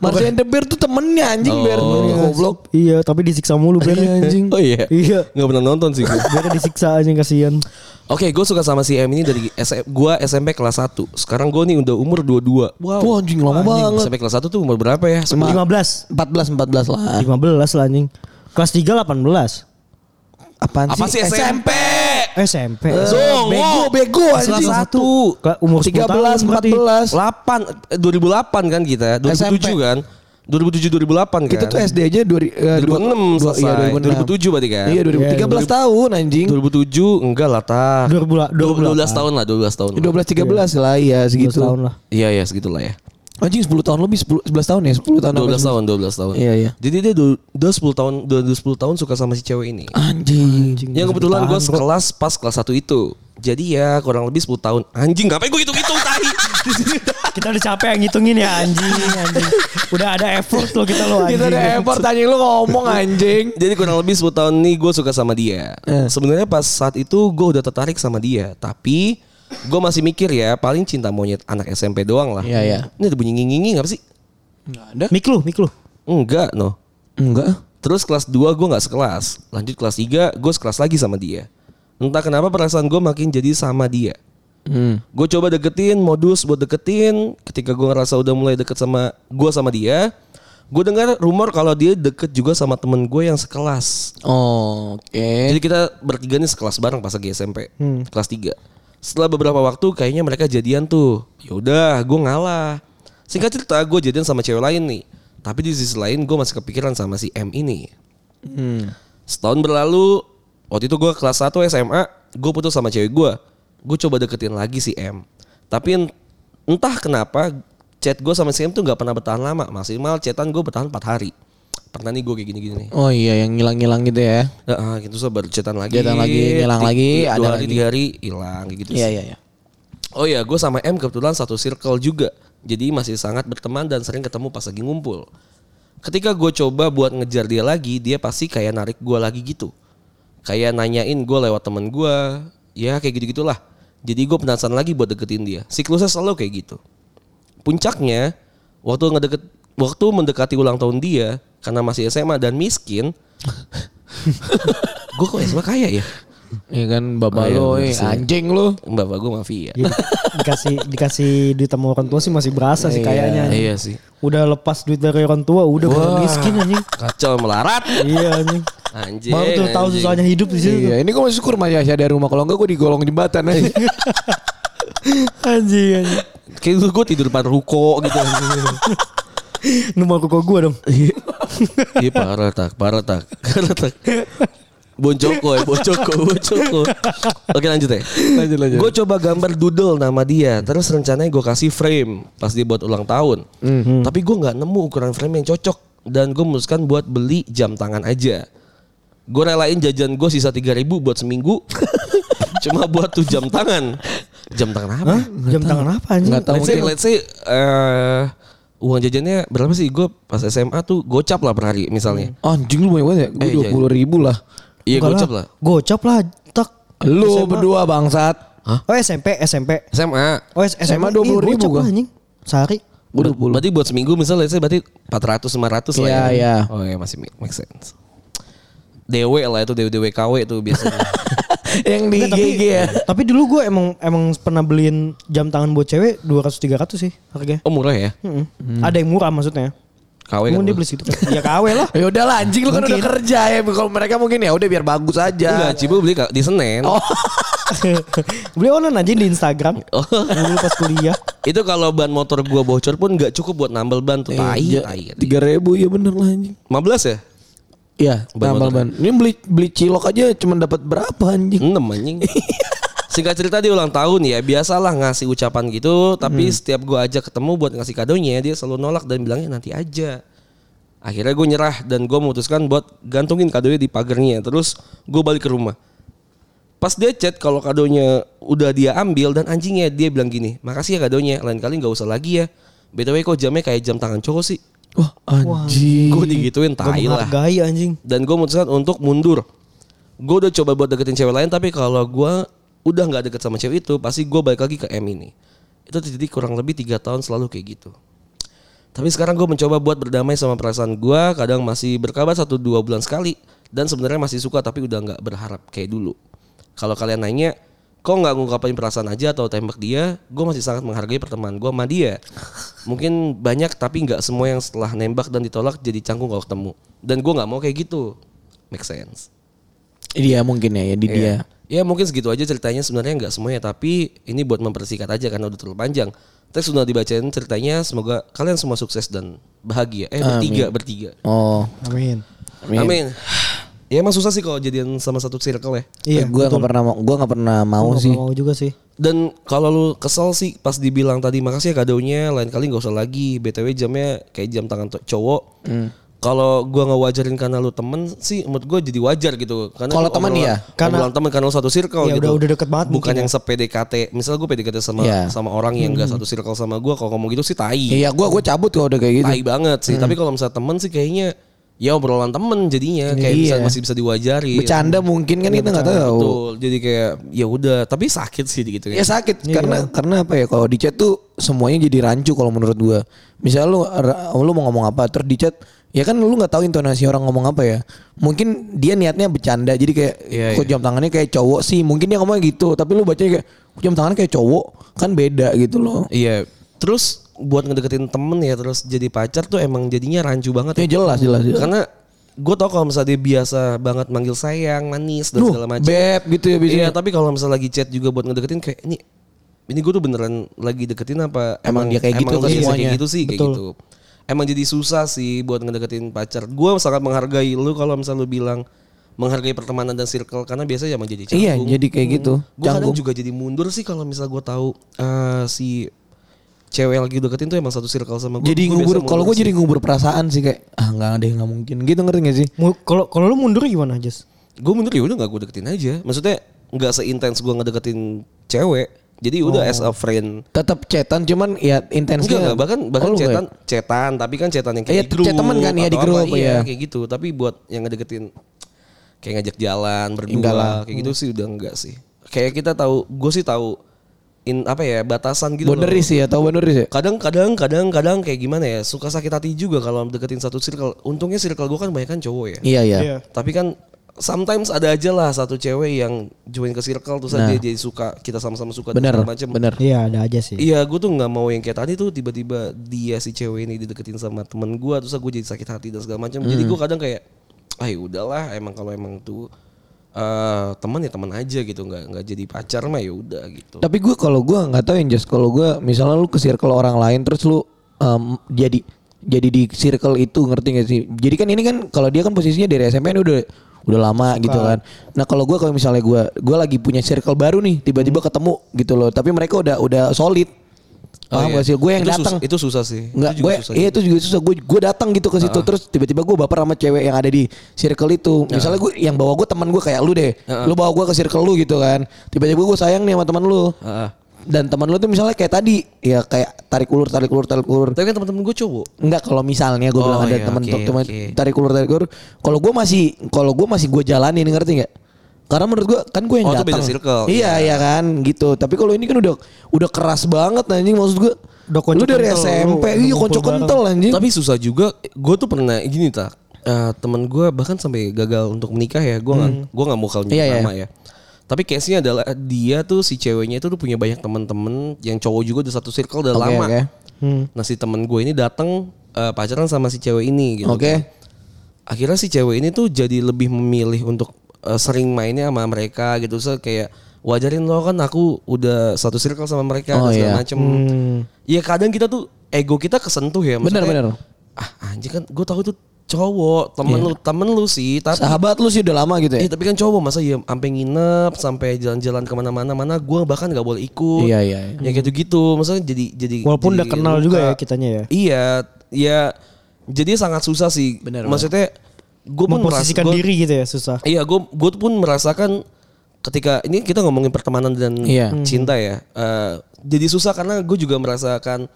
Speaker 3: Marsha and the Bear tuh temennya anjing
Speaker 2: Oh.
Speaker 3: Bear.
Speaker 2: Iya.
Speaker 3: Goblok.
Speaker 4: Iya, tapi disiksa mulu Ben.
Speaker 3: Iya, anjing.
Speaker 2: Oh iya.
Speaker 4: Iya.
Speaker 2: Nggak pernah nonton sih gue.
Speaker 4: Biar disiksa anjing kasihan.
Speaker 2: Oke, gue suka sama si M ini dari SM, gue SMP kelas 1. Sekarang gue nih udah umur 22. Wow.
Speaker 3: Wah anjing lama banget.
Speaker 2: SMP kelas 1 tuh umur berapa ya?
Speaker 4: 15.
Speaker 2: 10.
Speaker 3: 14 14 lah.
Speaker 4: 15 lah anjing. Kelas 3 18.
Speaker 3: Apaan Eh.
Speaker 2: Apa sih SMP?
Speaker 4: SMP.
Speaker 2: Songo.
Speaker 3: Bego, bego, anjing.
Speaker 2: Kelas 1.
Speaker 4: Ke- Umur 10 tahun
Speaker 3: 13
Speaker 4: berarti.
Speaker 3: 14.
Speaker 2: 8 eh, 2008 kan kita, 2007
Speaker 3: SMP.
Speaker 2: kan? 2007 2008 kan?
Speaker 3: Kita tuh SD aja 2000, eh,
Speaker 2: 2006
Speaker 3: dua-
Speaker 2: selesai.
Speaker 3: Iya, 2006.
Speaker 2: 2007 berarti kan?
Speaker 3: Iya 2013 tahun anjing.
Speaker 2: 2007 enggak lah tak.
Speaker 4: 2000
Speaker 2: 12 tahun lah, 12 tahun. lah.
Speaker 3: 12 13 lah iya
Speaker 4: 12
Speaker 3: segitu.
Speaker 4: tahun lah.
Speaker 2: Iya ya segitulah ya.
Speaker 3: Anjing 10 tahun lebih 10 11 tahun ya 10 tahun.
Speaker 2: 12
Speaker 3: apa sih?
Speaker 2: tahun, 12 tahun.
Speaker 3: Iya, iya.
Speaker 2: Jadi dia du- udah 10 tahun, udah 10 tahun suka sama si cewek ini.
Speaker 3: Anjing.
Speaker 2: Yang kebetulan gue sekelas pas kelas 1 itu. Jadi ya kurang lebih 10 tahun. Anjing ngapain gue hitung-hitung tahi.
Speaker 4: Kita udah capek yang ngitungin ya anjing, anjing. Udah ada effort loh kita loh anjing.
Speaker 3: Kita ada effort anjing lu ngomong anjing.
Speaker 2: Jadi kurang lebih 10 tahun nih gue suka sama dia.
Speaker 3: Iya.
Speaker 2: Sebenarnya pas saat itu gue udah tertarik sama dia. Tapi gue masih mikir ya paling cinta monyet anak SMP doang lah.
Speaker 3: Iya, iya.
Speaker 2: Ini ada bunyi ngingingi gak sih?
Speaker 3: Enggak ada.
Speaker 4: Mik lu, mik lu.
Speaker 2: Enggak no.
Speaker 3: Enggak.
Speaker 2: Terus kelas 2 gue gak sekelas. Lanjut kelas 3 gue sekelas lagi sama dia. Entah kenapa perasaan gue makin jadi sama dia.
Speaker 3: Hmm.
Speaker 2: Gue coba deketin modus buat deketin. Ketika gue ngerasa udah mulai deket sama gue sama dia. Gue dengar rumor kalau dia deket juga sama temen gue yang sekelas.
Speaker 3: Oh, oke.
Speaker 2: Jadi kita bertiga nih sekelas bareng pas lagi SMP. Kelas 3. Setelah beberapa waktu kayaknya mereka jadian tuh. Yaudah gue ngalah. Singkat cerita gue jadian sama cewek lain nih. Tapi di sisi lain gue masih kepikiran sama si M ini.
Speaker 3: Hmm.
Speaker 2: Setahun berlalu, waktu itu gue kelas 1 SMA, gue putus sama cewek gue. gue coba deketin lagi si M. Tapi en- entah kenapa chat gue sama si M tuh nggak pernah bertahan lama. Maksimal chatan gue bertahan 4 hari. Pernah nih gue kayak gini-gini nih.
Speaker 3: Oh iya yang ngilang-ngilang gitu ya.
Speaker 2: Heeh, gitu so baru chatan lagi.
Speaker 3: Chatan lagi, hilang
Speaker 2: Ti-
Speaker 3: lagi,
Speaker 2: dua
Speaker 3: ada
Speaker 2: hari,
Speaker 3: lagi.
Speaker 2: tiga hari hilang kayak gitu.
Speaker 3: Iya iya iya.
Speaker 2: Oh iya, gue sama M kebetulan satu circle juga. Jadi masih sangat berteman dan sering ketemu pas lagi ngumpul. Ketika gue coba buat ngejar dia lagi, dia pasti kayak narik gue lagi gitu. Kayak nanyain gue lewat temen gue. Ya kayak gitu-gitulah. Jadi gue penasaran lagi buat deketin dia. Siklusnya selalu kayak gitu. Puncaknya, waktu ngedeket waktu mendekati ulang tahun dia, karena masih SMA dan miskin, gue kok SMA kaya ya?
Speaker 3: Iya kan
Speaker 2: Oh,
Speaker 3: bapak
Speaker 2: iya,
Speaker 3: lo,
Speaker 2: bener
Speaker 3: eh,
Speaker 2: sih.
Speaker 3: anjing lo.
Speaker 2: Bapak gue mafia.
Speaker 4: Ya, dikasih dikasih duit sama orang tua sih masih berasa sih kayaknya.
Speaker 2: Iya sih.
Speaker 4: Udah lepas duit dari orang tua, udah bukan miskin anjing.
Speaker 2: Kacau melarat.
Speaker 4: iya anjing.
Speaker 2: Anjing.
Speaker 4: Baru tuh tahu
Speaker 2: anjing.
Speaker 4: susahnya hidup di situ. tuh.
Speaker 3: Iya, ini gue masih syukur masih ada rumah. Kalau enggak gue digolong jembatan aja.
Speaker 4: Anjing anjing.
Speaker 2: Kayak dulu gue tidur depan ruko gitu.
Speaker 4: Nomor koko gua dong.
Speaker 2: Iya parah tak, parah tak, parah tak. Boncoko ya, boncoko, boncoko. Oke lanjut ya.
Speaker 3: Lanjut, lanjut.
Speaker 2: Gue coba gambar doodle nama dia. Terus rencananya gue kasih frame pas dia buat ulang tahun.
Speaker 3: Hmm.
Speaker 2: Tapi gue nggak nemu ukuran frame yang cocok. Dan gue memutuskan buat beli jam tangan aja. Gue relain jajan gue sisa 3000 buat seminggu. Cuma buat tuh jam tangan. Jam tangan apa?
Speaker 4: Jam tangan apa anjing?
Speaker 3: Nggak tahu.
Speaker 2: let's say,
Speaker 3: mungkin.
Speaker 2: let's say eh, uang jajannya berapa sih gue pas SMA tuh gocap lah per hari misalnya.
Speaker 3: anjing lu banyak banget ya. Gue
Speaker 2: Eh,
Speaker 3: dua puluh ribu lah.
Speaker 2: Iya
Speaker 4: Enggak
Speaker 2: gocap lah.
Speaker 4: Gocap lah, tak.
Speaker 3: Lu berdua bangsat.
Speaker 4: Oh SMP, SMP.
Speaker 2: SMA.
Speaker 4: Oh S-
Speaker 3: SMA
Speaker 4: SMA
Speaker 3: 20.000
Speaker 4: gocap
Speaker 3: gua.
Speaker 4: lah, anjing. Sehari.
Speaker 3: Gue
Speaker 2: Ber- Berarti buat seminggu misalnya let's say berarti 400 500 lah
Speaker 3: Iya,
Speaker 2: ya.
Speaker 3: iya.
Speaker 2: Oh iya masih make, make sense. Dewe lah itu dewe dewe KW itu biasanya.
Speaker 3: yang
Speaker 2: Iya,
Speaker 3: di
Speaker 4: Nggak, tapi,
Speaker 3: GG ya.
Speaker 4: tapi dulu gue emang emang pernah beliin jam tangan buat cewek 200 300 sih harganya.
Speaker 2: oh murah ya.
Speaker 4: Mm-mm. Ada yang murah maksudnya.
Speaker 2: KW kan.
Speaker 4: Mungkin
Speaker 2: murah.
Speaker 4: dia beli segitu. kan. ya KW lah.
Speaker 3: Ya udah lah anjing lu kan udah kerja ya. Kalau mereka mungkin ya udah biar bagus
Speaker 2: Enggak,
Speaker 3: aja.
Speaker 2: Cibu beli ka- di Senen.
Speaker 3: Oh.
Speaker 4: beli online aja di Instagram.
Speaker 2: Oh.
Speaker 4: Dulu pas kuliah.
Speaker 2: Itu kalau ban motor gua bocor pun nggak cukup buat nambal ban tuh. Tai, tai.
Speaker 3: Iya, Tiga ribu ya bener lah anjing.
Speaker 2: 15 ya?
Speaker 3: Iya,
Speaker 2: Ban
Speaker 3: tambal
Speaker 2: motor.
Speaker 3: ban. Ini beli beli cilok aja cuman dapat berapa anjing?
Speaker 2: 6 anjing. Singkat cerita dia ulang tahun ya Biasalah ngasih ucapan gitu Tapi setiap gua ajak ketemu buat ngasih kadonya Dia selalu nolak dan bilangnya nanti aja Akhirnya gue nyerah dan gue memutuskan buat gantungin kadonya di pagernya Terus gue balik ke rumah Pas dia chat kalau kadonya udah dia ambil dan anjingnya dia bilang gini Makasih ya kadonya lain kali gak usah lagi ya BTW kok jamnya kayak jam tangan cowok sih
Speaker 3: Wah, anjing.
Speaker 2: Gue digituin
Speaker 4: Gak
Speaker 2: tai lah
Speaker 4: menghargai anjing.
Speaker 2: dan gue memutuskan untuk mundur. Gue udah coba buat deketin cewek lain tapi kalau gue udah nggak deket sama cewek itu pasti gue balik lagi ke M ini. Itu jadi kurang lebih tiga tahun selalu kayak gitu. Tapi sekarang gue mencoba buat berdamai sama perasaan gue. Kadang masih berkabar satu dua bulan sekali dan sebenarnya masih suka tapi udah nggak berharap kayak dulu. Kalau kalian nanya, kok nggak ngungkapin perasaan aja atau tembak dia? Gue masih sangat menghargai pertemanan gue sama dia. Mungkin banyak tapi nggak semua yang setelah nembak dan ditolak jadi canggung kalau ketemu. Dan gue nggak mau kayak gitu. Make sense.
Speaker 3: Dia mungkin ya, ya di dia.
Speaker 2: Ya mungkin segitu aja ceritanya sebenarnya nggak semuanya tapi ini buat mempersingkat aja karena udah terlalu panjang. Teks sudah dibacain ceritanya semoga kalian semua sukses dan bahagia. Eh bertiga bertiga.
Speaker 3: Oh. iya.
Speaker 4: Amin.
Speaker 2: Amin. Ya emang susah sih kalau jadian sama satu circle ya.
Speaker 3: Iya,
Speaker 4: Iya,
Speaker 3: gue nggak pernah mau, gue nggak pernah mau
Speaker 4: Gak
Speaker 3: sih.
Speaker 4: mau juga sih.
Speaker 2: Dan kalau lu kesel sih pas dibilang tadi makasih ya kadonya lain kali nggak usah lagi. BTW jamnya kayak jam tangan to- cowok.
Speaker 3: Hmm.
Speaker 2: Kalau gua nggak wajarin karena lu temen sih menurut gua jadi wajar gitu. Karena
Speaker 3: Kalau
Speaker 2: lu
Speaker 3: temen
Speaker 2: obrolan-
Speaker 3: iya.
Speaker 2: Karena obrolan temen karena lu satu circle
Speaker 4: Iya,
Speaker 2: gitu.
Speaker 4: udah- udah deket banget
Speaker 2: Bukan
Speaker 4: mungkin ya.
Speaker 2: yang se-PDKT. Misal gua PDKT sama
Speaker 3: Iya.
Speaker 2: sama orang yang nggak satu circle sama gua kalau ngomong gitu sih tai.
Speaker 3: Iya, gue gue cabut kalau udah kayak gitu.
Speaker 2: tai banget sih. Tapi kalau misalnya temen sih kayaknya ya obrolan temen jadinya kayak
Speaker 3: Iya.
Speaker 2: bisa- masih bisa diwajari.
Speaker 3: Bercanda mungkin kan kita nggak tahu.
Speaker 2: Betul. Jadi kayak ya udah, tapi sakit sih gitu ya.
Speaker 3: Ya sakit karena karena apa ya kalau di chat tuh semuanya jadi rancu kalau menurut gua. Misal lu ra- lu mau ngomong apa terus di chat ya kan lu nggak tahu intonasi orang ngomong apa ya. Mungkin dia niatnya bercanda jadi kayak
Speaker 2: Iya,
Speaker 3: kok
Speaker 2: iya.
Speaker 3: jam tangannya kayak cowok sih. Mungkin dia ngomong gitu tapi lu bacanya kayak "Kok jam tangannya kayak cowok kan beda gitu loh.
Speaker 2: Iya. Terus buat ngedeketin temen ya terus jadi pacar tuh emang jadinya rancu banget
Speaker 3: Ya jelas jelas. jelas.
Speaker 2: Karena gue tau kalau misalnya dia biasa banget manggil sayang, manis dan
Speaker 3: Nuh,
Speaker 2: segala macam.
Speaker 3: beb gitu ya bisa.
Speaker 2: Iya, tapi kalau misalnya lagi chat juga buat ngedeketin kayak ini ini gue tuh beneran lagi deketin apa
Speaker 3: Emang dia kayak gitu
Speaker 2: emang lu
Speaker 3: kan
Speaker 2: biasa
Speaker 3: semuanya.
Speaker 2: kayak gitu sih kayak
Speaker 4: Betul.
Speaker 2: gitu. Emang jadi susah sih buat ngedeketin pacar. Gue sangat menghargai lu kalau misalnya lu bilang menghargai pertemanan dan circle karena biasanya zaman jadi
Speaker 3: Iya,
Speaker 2: canggung.
Speaker 3: jadi kayak gitu.
Speaker 2: Gue kadang
Speaker 3: Canggung.
Speaker 2: juga jadi mundur sih kalau misal gue tahu eh, si cewek yang lagi deketin tuh emang satu circle sama gue.
Speaker 3: Jadi ngubur kalau gue jadi ngubur perasaan sih kayak ah nggak ada yang nggak mungkin gitu ngerti gak sih?
Speaker 4: Mu- Kalau kalau lu mundur gimana, Jas?
Speaker 2: gue mundur ya udah nggak gue deketin aja. Maksudnya nggak seintens gue ngedeketin cewek. Jadi udah
Speaker 3: Oh.
Speaker 2: as a friend.
Speaker 3: Tetap cetan cuman
Speaker 2: Enggak,
Speaker 3: ya intensnya
Speaker 2: enggak, bahkan bahkan
Speaker 3: Oh, lu nggak
Speaker 2: cetan cetan tapi kan cetan yang
Speaker 3: Iya,
Speaker 2: kayak di grup.
Speaker 3: chat temen kan, iya,
Speaker 2: atau
Speaker 3: di grup,
Speaker 2: apa,
Speaker 3: iya.
Speaker 2: iya, kayak gitu. Tapi buat yang ngedeketin kayak ngajak jalan berdua
Speaker 3: Enggak lah.
Speaker 2: kayak gitu sih udah enggak sih. Kayak kita tahu, gue sih tahu in apa ya batasan gitu.
Speaker 3: ya?
Speaker 2: loh.
Speaker 3: Boundaries ya atau boundaries ya?
Speaker 2: Kadang-kadang kadang-kadang kayak gimana ya suka sakit hati juga kalau deketin satu circle. Untungnya circle gue kan banyak kan cowok ya.
Speaker 3: Iya iya.
Speaker 4: Iya.
Speaker 2: Tapi kan sometimes ada aja lah satu cewek yang join ke circle terus
Speaker 3: Nah.
Speaker 2: dia jadi suka kita sama-sama suka dan
Speaker 3: Bener
Speaker 2: segala macem.
Speaker 3: bener.
Speaker 4: Iya, ada aja sih.
Speaker 2: Iya gue tuh nggak mau yang kayak tadi tuh tiba-tiba dia si cewek ini dideketin sama temen gue terus gue jadi sakit hati dan segala macam. Jadi gue kadang kayak, ah ya udahlah emang kalau emang tuh eh teman ya teman aja gitu nggak nggak jadi pacar mah ya udah gitu.
Speaker 3: Tapi gue kalau gue nggak tahu yang just kalau gue misalnya lu ke circle orang lain terus lu em, jadi jadi di circle itu ngerti gak sih? Jadi kan ini kan kalau dia kan posisinya dari SMP ini udah udah lama gitu kan. Nah kalau gue kalau misalnya gue gue lagi punya circle baru nih tiba-tiba ketemu gitu loh. Tapi mereka udah udah solid. Paham gak sih? Gue yang
Speaker 2: Oh, iya. Itu sus-
Speaker 3: datang.
Speaker 2: itu susah sih. Itu
Speaker 3: Nggak,
Speaker 2: juga
Speaker 3: gue
Speaker 2: susah
Speaker 3: iya
Speaker 2: juga.
Speaker 3: itu juga susah. Gue gue datang gitu ke situ terus tiba-tiba gue baper sama cewek yang ada di circle itu. Misalnya gue yang bawa gue teman gue kayak lu deh. Lu bawa gue ke circle lu gitu kan. Tiba-tiba gue sayang nih sama teman lu.
Speaker 2: Heeh.
Speaker 3: Dan teman lu tuh misalnya kayak tadi ya kayak tarik ulur tarik ulur tarik ulur.
Speaker 2: Tapi kan teman-teman gue cowok.
Speaker 3: Enggak kalau misalnya gue
Speaker 2: Oh,
Speaker 3: bilang ada
Speaker 2: iya,
Speaker 3: temen
Speaker 2: oke,
Speaker 3: tuh cuma
Speaker 2: oke.
Speaker 3: tarik ulur tarik ulur. Kalau gue masih kalau gue masih gue jalanin ngerti nggak? Karena menurut gue kan gue
Speaker 2: Oh,
Speaker 3: yang
Speaker 2: itu
Speaker 3: datang.
Speaker 2: beda circle,
Speaker 3: Iya iya kan gitu. Tapi kalau ini kan udah udah keras banget anjing maksud gue.
Speaker 4: Udah kocok
Speaker 3: lu dari
Speaker 4: kental,
Speaker 3: SMP,
Speaker 4: lu- lu
Speaker 3: iya
Speaker 4: ngumpul
Speaker 3: kocok
Speaker 4: bareng.
Speaker 3: kental anjing.
Speaker 2: Tapi susah juga. Gue tuh pernah gini tak. Eh, temen gue bahkan sampai gagal untuk menikah ya. Gue nggak gue nggak mau kalau nyebut
Speaker 3: Iya, iya.
Speaker 2: nama ya. Tapi case-nya adalah dia tuh si ceweknya itu tuh punya banyak temen-temen yang cowok juga di satu circle udah
Speaker 3: Oke,
Speaker 2: lama.
Speaker 3: oke. Hmm.
Speaker 2: Nah si temen gue ini datang eh, pacaran sama si cewek ini gitu. kan.
Speaker 3: Oke.
Speaker 2: Akhirnya si cewek ini tuh jadi lebih memilih untuk eh, sering mainnya sama mereka gitu. So, kayak wajarin lo kan aku udah satu circle sama mereka dan
Speaker 3: Oh,
Speaker 2: segala
Speaker 3: iya.
Speaker 2: macem. Ya kadang kita tuh ego kita kesentuh ya.
Speaker 3: Bener,
Speaker 2: maksudnya,
Speaker 3: bener.
Speaker 2: Ah anjir kan gue tahu itu cowok
Speaker 3: Iya.
Speaker 2: temen lu temen lu sih tapi
Speaker 3: Sahabat lu sih udah lama gitu ya.
Speaker 2: Iya, tapi kan cowok masa ya sampai nginep sampai jalan-jalan kemana-mana mana gue bahkan nggak boleh ikut
Speaker 3: Iya, iya, iya.
Speaker 2: ya gitu-gitu maksudnya jadi jadi
Speaker 4: Walaupun
Speaker 2: jadi
Speaker 4: udah kenal
Speaker 2: luka.
Speaker 4: juga ya kitanya ya.
Speaker 2: iya ya jadi sangat susah sih maksudnya gue pun merasa
Speaker 4: Memposisikan
Speaker 2: gua-
Speaker 4: diri gitu ya susah.
Speaker 2: Iya, gue gue pun merasakan ketika ini kita ngomongin pertemanan dan
Speaker 3: Iya.
Speaker 2: cinta ya. Eh, jadi susah karena gue juga merasakan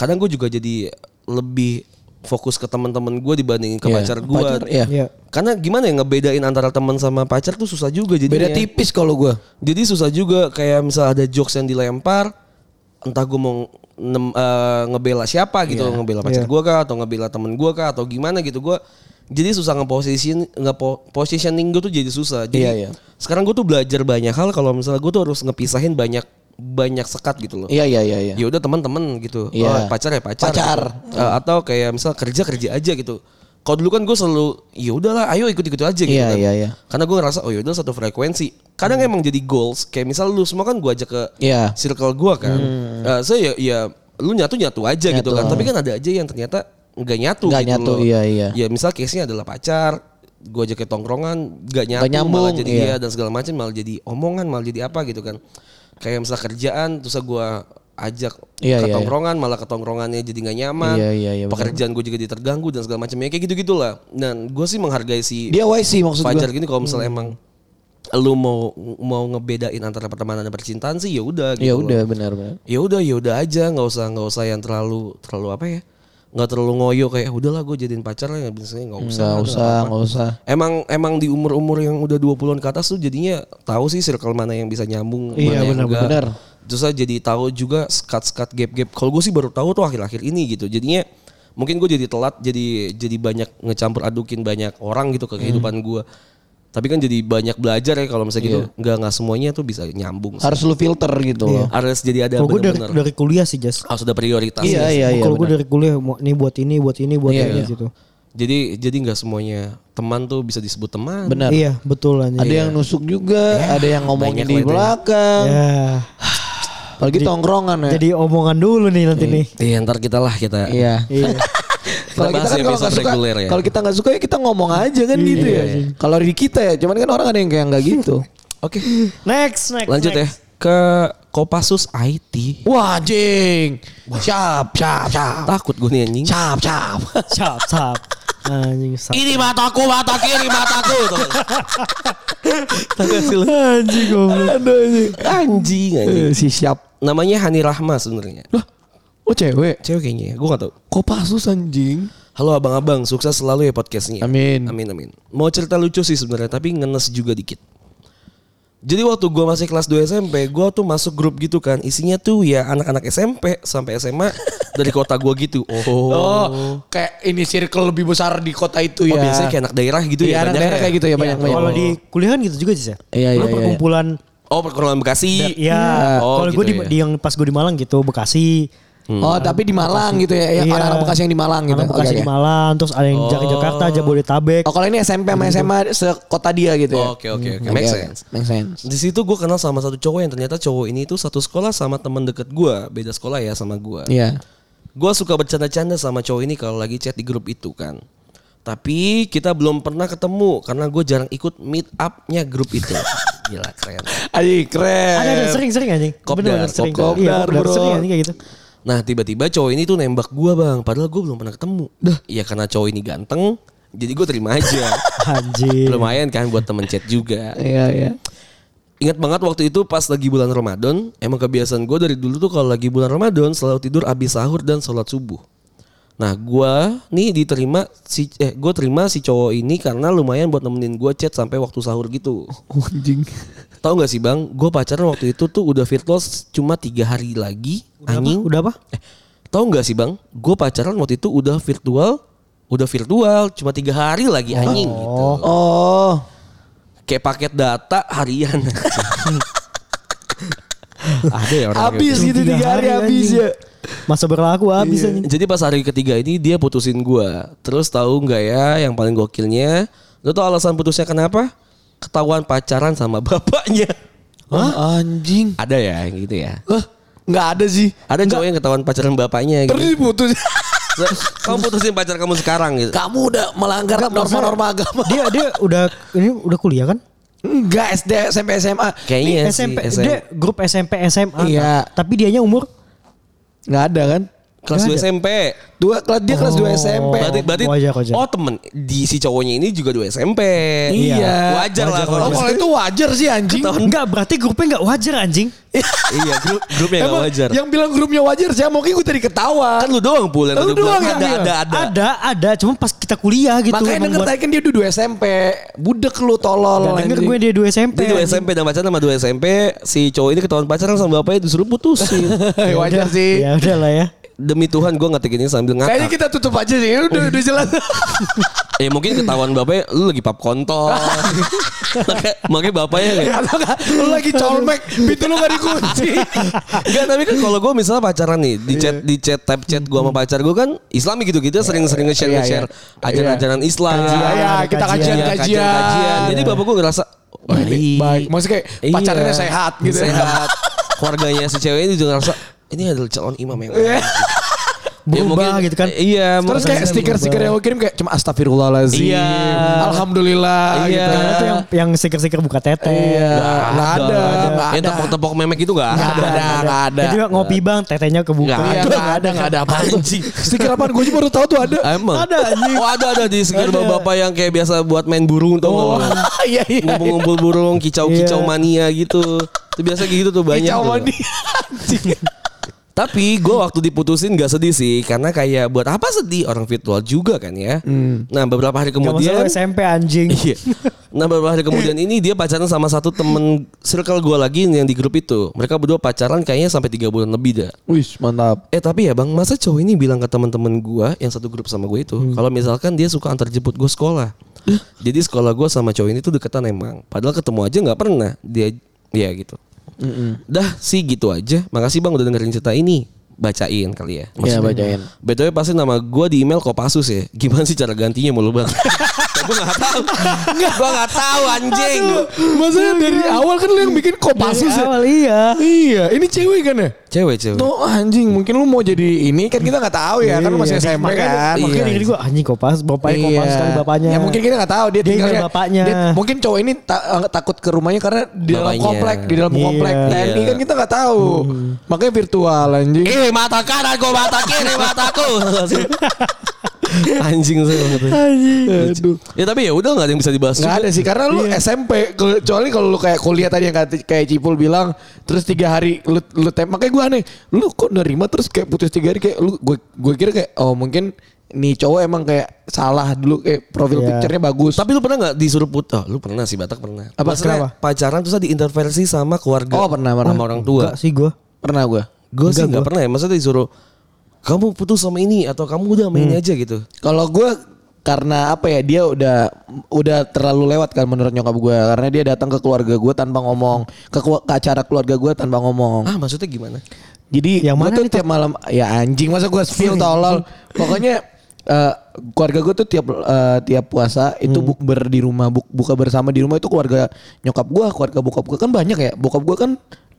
Speaker 2: kadang gue juga jadi lebih fokus ke teman-teman gue dibandingin ke
Speaker 3: Iya,
Speaker 2: pacar gue.
Speaker 3: pacar, iya.
Speaker 4: Iya.
Speaker 2: Karena gimana ya ngebedain antara teman sama pacar tuh susah juga jadi
Speaker 3: Beda tipis kalau gue.
Speaker 2: Jadi susah juga kayak misal ada jokes yang dilempar entah gue mau nem- eh, ngebela siapa gitu, ngebela pacar
Speaker 4: Iya.
Speaker 2: gue kah atau ngebela temen gue kah atau gimana gitu gue jadi susah ngeposition ngepo, positioning gue tuh jadi susah. Jadi
Speaker 3: Iya, iya.
Speaker 2: sekarang gue tuh belajar banyak hal kalau misalnya gue tuh harus ngepisahin banyak banyak sekat gitu loh.
Speaker 3: Iya iya iya iya.
Speaker 2: Ya udah teman-teman gitu.
Speaker 3: Iya.
Speaker 2: Oh, pacar ya pacar.
Speaker 3: Pacar.
Speaker 2: gitu. Eh, atau kayak misal kerja kerja aja gitu. Kalau dulu kan gue selalu ya udahlah ayo ikut-ikut aja gitu
Speaker 3: Iya,
Speaker 2: kan.
Speaker 3: iya, iya.
Speaker 2: Karena gue ngerasa oh yaudah satu frekuensi. Kadang emang jadi goals kayak misal lu semua kan gue ajak ke
Speaker 3: Iya. Hmm.
Speaker 2: circle gue kan. Eh, saya ya, ya lu nyatu-nyatu aja gitu
Speaker 3: Nyatu. eh.
Speaker 2: kan. Tapi kan ada aja yang ternyata nggak nyatu
Speaker 3: Nggak
Speaker 2: gitu
Speaker 3: nyatu,
Speaker 2: loh.
Speaker 3: iya, iya.
Speaker 2: Ya misal case-nya adalah pacar, gue ajak ke tongkrongan nggak nyatu malah
Speaker 3: nyambung,
Speaker 2: jadi
Speaker 3: iya.
Speaker 2: dia dan segala macam malah jadi omongan malah jadi apa gitu kan kayak misalnya kerjaan terus gue ajak
Speaker 3: Iya,
Speaker 2: ke
Speaker 3: iya,
Speaker 2: tongkrongan malah ke tongkrongannya jadi nggak nyaman
Speaker 3: Iya, iya, iya, benar.
Speaker 2: pekerjaan gue juga jadi terganggu dan segala macamnya kayak gitu gitulah dan gue sih menghargai si
Speaker 3: Dia wise sih maksud Hmm.
Speaker 2: Fajar
Speaker 3: gue.
Speaker 2: gini kalau misalnya emang lu mau mau ngebedain antara pertemanan dan percintaan sih ya udah gitu
Speaker 3: Ya
Speaker 2: loh.
Speaker 3: udah benar benar.
Speaker 2: ya udah ya udah aja nggak usah nggak usah yang terlalu terlalu apa ya nggak terlalu ngoyo kayak "Ah, udahlah gue jadiin pacar lah biasanya nggak usah
Speaker 3: Nggak
Speaker 2: nggak
Speaker 3: usah
Speaker 2: apa-apa."
Speaker 3: nggak usah.
Speaker 2: Emang emang di umur-umur yang udah 20-an ke atas tuh jadinya tahu sih circle mana yang bisa nyambung, mana
Speaker 4: Iya,
Speaker 2: yang
Speaker 4: benar,
Speaker 2: enggak.
Speaker 3: benar.
Speaker 2: Terus saya jadi tahu juga skat-skat gap-gap. Kalau gue sih baru tahu tuh akhir-akhir ini gitu. Jadinya mungkin gue jadi telat jadi jadi banyak ngecampur adukin banyak orang gitu ke kehidupan gua Tapi kan jadi banyak belajar ya kalau misalnya gitu. Enggak enggak semuanya tuh bisa nyambung. sih.
Speaker 3: Harus lu filter gitu loh.
Speaker 2: Harus jadi ada
Speaker 4: Kalau gue dari
Speaker 2: benar-benar
Speaker 4: dari kuliah sih Jas.
Speaker 2: harus ada prioritas.
Speaker 3: Iya iya iya.
Speaker 4: Kalau gue
Speaker 3: benar.
Speaker 4: dari kuliah mau ini buat ini, buat ini, buat
Speaker 3: Iya,
Speaker 4: ini
Speaker 3: iya.
Speaker 4: gitu.
Speaker 2: Jadi jadi enggak semuanya teman tuh bisa disebut teman.
Speaker 3: Benar.
Speaker 4: Iya, betul aja.
Speaker 3: Ada yang nusuk juga, ada yang
Speaker 2: banyak
Speaker 3: ngomongin di
Speaker 2: lah itu ya.
Speaker 3: belakang.
Speaker 4: Ya.
Speaker 3: Apalagi tongkrongan ya.
Speaker 4: Jadi omongan dulu nih nanti nih.
Speaker 2: Iya, ntar kita lah kita
Speaker 3: iya.
Speaker 4: Iya.
Speaker 3: Kalau
Speaker 2: bahas
Speaker 3: kita
Speaker 2: ya,
Speaker 3: kan kalau
Speaker 2: episode
Speaker 3: nggak suka,
Speaker 2: reguler ya.
Speaker 3: kalau kita nggak suka ya kita ngomong aja kan gitu ya. Kalau di kita ya, cuman kan orang ada yang kayak nggak gitu.
Speaker 2: Oke.
Speaker 4: Next, next.
Speaker 2: Lanjut ya
Speaker 4: next.
Speaker 2: ke Kopassus IT.
Speaker 3: Wah jeng, siap, siap, siap,
Speaker 2: Takut gue nih anjing.
Speaker 3: siap, siap.
Speaker 4: Cap, cap. Anjing, cap.
Speaker 2: Ini mataku, mata kiri, mataku.
Speaker 4: Anjing goblok.
Speaker 2: anjing, anjing.
Speaker 3: Eh, Si siap.
Speaker 2: Namanya Hani Rahma sebenarnya.
Speaker 3: Lah, oh cewek.
Speaker 2: Cewek kayaknya ya, gue gak tau.
Speaker 3: Kok pasus anjing?
Speaker 2: Halo abang-abang, sukses selalu ya podcastnya.
Speaker 3: Amin.
Speaker 2: Amin, amin. Mau cerita lucu sih sebenarnya, tapi ngenes juga dikit. Jadi waktu gue masih kelas 2 SMP, gue tuh masuk grup gitu kan. Isinya tuh ya anak-anak SMP sampai SMA dari kota gue gitu.
Speaker 3: Oh.
Speaker 2: Oh,
Speaker 3: kayak ini circle lebih besar di kota itu ya.
Speaker 2: biasanya kayak anak daerah gitu
Speaker 3: Iya,
Speaker 2: ya.
Speaker 3: anak
Speaker 2: banyak
Speaker 3: daerah
Speaker 2: ya.
Speaker 3: kayak gitu ya banyak banyak.
Speaker 4: Kalau di kuliah kan gitu juga sih
Speaker 3: Iya,
Speaker 4: ya.
Speaker 3: iya, Ah,
Speaker 4: Lu
Speaker 3: iya,
Speaker 4: perkumpulan
Speaker 2: Oh, perkenalan Bekasi.
Speaker 4: ya.
Speaker 2: Oh,
Speaker 4: kalau
Speaker 2: gitu
Speaker 4: gue di,
Speaker 2: ya.
Speaker 4: di yang pas gue di Malang gitu, Bekasi.
Speaker 3: Oh, tapi di Malang gitu ya. Yang
Speaker 4: Iya.
Speaker 3: anak-anak Bekasi yang di Malang gitu.
Speaker 4: Anak
Speaker 3: Oke,
Speaker 4: Bekasi
Speaker 3: oke.
Speaker 4: di Malang, terus ada yang Jakarta, Jabodetabek.
Speaker 3: Oh, kalau ini SMP sama SMA sekota dia gitu ya.
Speaker 2: Oke, oke, oke. Make
Speaker 3: Oke, oke.
Speaker 2: sense.
Speaker 3: Make sense.
Speaker 2: Di situ gue kenal sama satu cowok yang ternyata cowok ini tuh satu sekolah sama teman deket gue, beda sekolah ya sama gue.
Speaker 3: Iya.
Speaker 2: Gue suka bercanda-canda sama cowok ini kalau lagi chat di grup itu kan. Tapi kita belum pernah ketemu karena gue jarang ikut meet up-nya grup itu. Gila keren.
Speaker 3: Aji keren.
Speaker 4: Ada ada sering-sering anjing.
Speaker 2: Kopdar,
Speaker 4: Bener-bener sering.
Speaker 2: kopdar,
Speaker 4: Iya,
Speaker 3: Eh,
Speaker 4: kopdar
Speaker 3: bro.
Speaker 4: sering anjing kayak gitu.
Speaker 2: Nah tiba-tiba cowok ini tuh nembak gue bang. Padahal gue belum pernah ketemu. Dah. Ya karena cowok ini ganteng. Jadi gue terima aja.
Speaker 4: Anjing.
Speaker 2: Lumayan kan buat temen chat juga.
Speaker 3: Iya, iya.
Speaker 2: Ingat banget waktu itu pas lagi bulan Ramadan, emang kebiasaan gue dari dulu tuh kalau lagi bulan Ramadan selalu tidur abis sahur dan sholat subuh. Nah gue nih diterima si eh gue terima si cowok ini karena lumayan buat nemenin gue chat sampai waktu sahur gitu.
Speaker 3: Anjing.
Speaker 2: Tahu nggak sih bang, gue pacaran waktu itu tuh udah virtual cuma tiga hari lagi. anjing.
Speaker 4: Udah apa?
Speaker 2: Eh, tahu nggak sih bang, gue pacaran waktu itu udah virtual, udah virtual cuma tiga hari lagi anjing gitu.
Speaker 3: Oh.
Speaker 2: Kayak paket data harian. Ada ya orang kayak
Speaker 3: Habis
Speaker 4: Cuma
Speaker 3: gitu
Speaker 4: tiga
Speaker 3: tiga hari
Speaker 4: hari,
Speaker 3: habis
Speaker 4: anjing.
Speaker 3: ya. Iya.
Speaker 4: Masa berlaku habis anjing.
Speaker 2: Jadi pas hari ketiga ini dia putusin gua. Terus tahu nggak ya yang paling gokilnya? Lu tau alasan putusnya kenapa? Ketahuan pacaran sama bapaknya.
Speaker 3: Hah? Oh, Anjing.
Speaker 2: Ada ya yang gitu ya.
Speaker 3: Hah? Enggak ada sih.
Speaker 2: Ada cowok yang ketahuan pacaran bapaknya
Speaker 3: Terus
Speaker 2: gitu.
Speaker 3: diputus.
Speaker 2: Se- Kamu putusin pacar kamu sekarang gitu.
Speaker 3: Kamu udah melanggar norma-norma agama.
Speaker 4: Dia dia udah ini udah kuliah kan?
Speaker 3: Enggak SD SMP SMA.
Speaker 2: Kayaknya sih,
Speaker 4: SMP,
Speaker 2: SM.
Speaker 4: dia grup SMP SMA.
Speaker 3: Iya.
Speaker 4: Tapi dianya umur
Speaker 3: Enggak ada kan?
Speaker 2: kelas 2 SMP.
Speaker 3: Dua kelas dia kelas 2
Speaker 2: Oh,
Speaker 3: SMP.
Speaker 2: Berarti berarti
Speaker 4: wajar, wajar.
Speaker 2: oh temen di si cowoknya ini juga 2 SMP.
Speaker 3: Iya.
Speaker 2: Wajar, lah
Speaker 4: Wajar,
Speaker 2: kalau
Speaker 3: Oh, kalau itu wajar sih anjing.
Speaker 4: enggak berarti grupnya enggak wajar anjing.
Speaker 2: iya grup grupnya enggak
Speaker 3: Emang
Speaker 2: wajar.
Speaker 3: Yang bilang grupnya wajar sih, mungkin gue tadi ketawa.
Speaker 2: Kan lu doang pulen
Speaker 3: Lu doang yang
Speaker 2: ada,
Speaker 3: bilang.
Speaker 2: ada ada
Speaker 4: Ada ada cuma pas kita kuliah gitu
Speaker 3: Makanya denger tadi kan dia udah 2 SMP. Budek lu tolol.
Speaker 4: Gak denger
Speaker 3: anjing.
Speaker 4: gue dia 2 SMP.
Speaker 2: Dia dua SMP dan pacaran sama dua SMP Si cowok ini ketahuan pacaran sama bapaknya disuruh putusin
Speaker 3: Eh, wajar sih.
Speaker 4: Ya udah lah ya.
Speaker 2: Demi Tuhan gue ngetik ini sambil
Speaker 3: Kayaknya
Speaker 2: ngakak
Speaker 3: kita tutup aja sih. Udah, udah jelas.
Speaker 2: Ya mungkin ketahuan bapaknya Lu lagi pap kontol Makanya- Makanya bapaknya kayak
Speaker 3: Atau enggak, Ya, lu lagi colmek, pintu lu gak dikunci.
Speaker 2: Enggak tapi kan kalau gue misalnya pacaran nih Di chat, di chat type chat gue sama pacar gue kan Islami gitu gitu sering-sering nge-share
Speaker 3: Iya. Iya,
Speaker 2: nge-share
Speaker 3: iya.
Speaker 2: Ajaran-ajaran Islam
Speaker 3: Iya, ya,
Speaker 4: ada
Speaker 3: kita
Speaker 4: kajian.
Speaker 2: Iya,
Speaker 3: kajian-kajian.
Speaker 2: kajian-kajian. Jadi bapak gue ngerasa "Wah, ini
Speaker 3: Baik, maksudnya kayak
Speaker 2: Iya.
Speaker 3: pacarnya sehat gitu.
Speaker 2: Sehat. Keluarganya si cewek ini juga ngerasa ini adalah calon imam
Speaker 3: Iya.
Speaker 2: yang
Speaker 4: Berubah gitu kan.
Speaker 2: Iya,
Speaker 3: Terus kayak
Speaker 2: makanya-
Speaker 3: stiker-stiker yang lo kirim kayak cuma astagfirullahalazim.
Speaker 2: Iya. Iya.
Speaker 3: Alhamdulillah gitu.
Speaker 4: Karena tuh yang yang stiker-stiker buka tete.
Speaker 3: Iya. Enggak ada, enggak
Speaker 2: Yang
Speaker 3: ada.
Speaker 2: tepok-tepok memek itu gak ada.
Speaker 3: Nggak ada, nggak ada.
Speaker 4: Jadi ngopi bang, tetenya kebuka.
Speaker 2: Nggak
Speaker 3: Iya,
Speaker 4: Aduh,
Speaker 3: nggak ada, nggak ada apa
Speaker 2: Anjing.
Speaker 3: Stiker apaan? Gue juga baru tahu tuh ada.
Speaker 2: Emang?
Speaker 4: Ada, anjing.
Speaker 2: Oh ada ada di sekitar bapak yang kayak biasa buat main burung tau
Speaker 3: Oh,
Speaker 2: nggak?
Speaker 3: iya iya.
Speaker 2: Ngumpul-ngumpul burung, kicau-kicau
Speaker 4: Iya.
Speaker 2: mania gitu. Itu biasa gitu tuh banyak. tuh.
Speaker 3: Kicau mandi. Anjing.
Speaker 2: Tapi gue waktu diputusin gak sedih sih Karena kayak buat apa sedih Orang virtual juga kan ya
Speaker 3: Hmm.
Speaker 2: Nah beberapa hari
Speaker 4: nggak masalah
Speaker 3: ya,
Speaker 2: kemudian
Speaker 4: SMP anjing.
Speaker 2: Iya. Nah beberapa hari kemudian ini dia pacaran sama satu temen circle gue lagi yang di grup itu. Mereka berdua pacaran kayaknya sampai tiga bulan lebih dah.
Speaker 3: Wih, mantap.
Speaker 2: Eh tapi ya bang, masa cowok ini bilang ke teman-teman gue yang satu grup sama gue itu, kalau misalkan dia suka antar jemput gue sekolah. Jadi sekolah gue sama cowok ini tuh deketan emang. Padahal ketemu aja nggak pernah. Dia, ya gitu. Dah sih gitu aja. Makasih bang udah dengerin cerita ini. Bacain kali ya.
Speaker 3: Iya, bacain.
Speaker 2: By the way, pasti nama gue di email Kopassus ya. Gimana sih cara gantinya mulu bang? Gue gak tahu. Gue gak tahu anjing.
Speaker 5: Maksudnya dari awal kan lu yang bikin
Speaker 4: Iya, Dari
Speaker 5: kopassus ya.
Speaker 4: awal iya.
Speaker 5: Iya, ini cewek kan ya?
Speaker 2: Cewek cewek.
Speaker 3: Tuh anjing mungkin lu mau jadi ini kan kita nggak tahu ya kan lu masih
Speaker 4: Iya,
Speaker 3: SMP
Speaker 4: makanya-
Speaker 3: kan.
Speaker 4: Makanya diri gue anjing kopas, bapaknya kopas sekali bapaknya.
Speaker 3: Ya mungkin kita nggak tahu dia
Speaker 4: Dia
Speaker 3: tinggalnya.
Speaker 4: ingat bapaknya.
Speaker 3: dia- mungkin cowok ini ta- eh, takut ke rumahnya karena di dalam
Speaker 2: Bapaknya.
Speaker 3: komplek, di dalam
Speaker 4: Iya. Hmm.
Speaker 3: komplek. Nah, ini
Speaker 2: Iya. Eh,
Speaker 3: kan kita nggak tahu. Makanya virtual anjing.
Speaker 2: Ini mata kanan gue mata kiri mataku. anjing sih banget. Aduh. Ya tapi ya udah nggak ada yang bisa dibahas.
Speaker 3: Nggak
Speaker 2: juga.
Speaker 3: ada sih karena lu SMP kecuali kalau lu kayak kuliah tadi yang kata- kayak Cipul bilang terus tiga hari lu lu tem makanya gue aneh lu kok nerima terus kayak putus tiga hari kayak lu gue gue kira kayak oh mungkin nih cowok emang kayak salah dulu kayak profil
Speaker 4: Iya.
Speaker 3: picture-nya bagus
Speaker 2: Tapi lu pernah nggak disuruh put? Oh, lu pernah sih Batak pernah.
Speaker 3: Apa,
Speaker 2: Maksudnya
Speaker 3: kenapa?
Speaker 2: pacaran terus diintervensi sama keluarga.
Speaker 3: Oh, pernah, pernah.
Speaker 2: Sama orang tua.
Speaker 4: Enggak sih gue.
Speaker 3: pernah gue
Speaker 2: Gue sih
Speaker 4: Enggak,
Speaker 2: nggak
Speaker 4: gua.
Speaker 2: pernah ya. Maksudnya disuruh kamu putus sama ini atau kamu udah sama
Speaker 3: Hmm.
Speaker 2: ini aja gitu.
Speaker 3: kalau gue karena apa ya dia udah udah terlalu lewat kan menurut nyokap gue karena dia datang ke keluarga gue tanpa ngomong ke, kelu- ke acara keluarga gue tanpa ngomong
Speaker 2: Ah maksudnya gimana?
Speaker 3: Jadi
Speaker 4: Yang
Speaker 3: yang
Speaker 4: mana
Speaker 3: tuh
Speaker 4: nih,
Speaker 3: tiap malam ya anjing masa gue spill tolol. Pokoknya eh, keluarga gue tuh tiap eh, tiap puasa itu
Speaker 4: Hmm.
Speaker 3: bukber di rumah, buk- buka bersama di rumah itu keluarga nyokap gue, keluarga bokap gue kan banyak ya. Bokap gue kan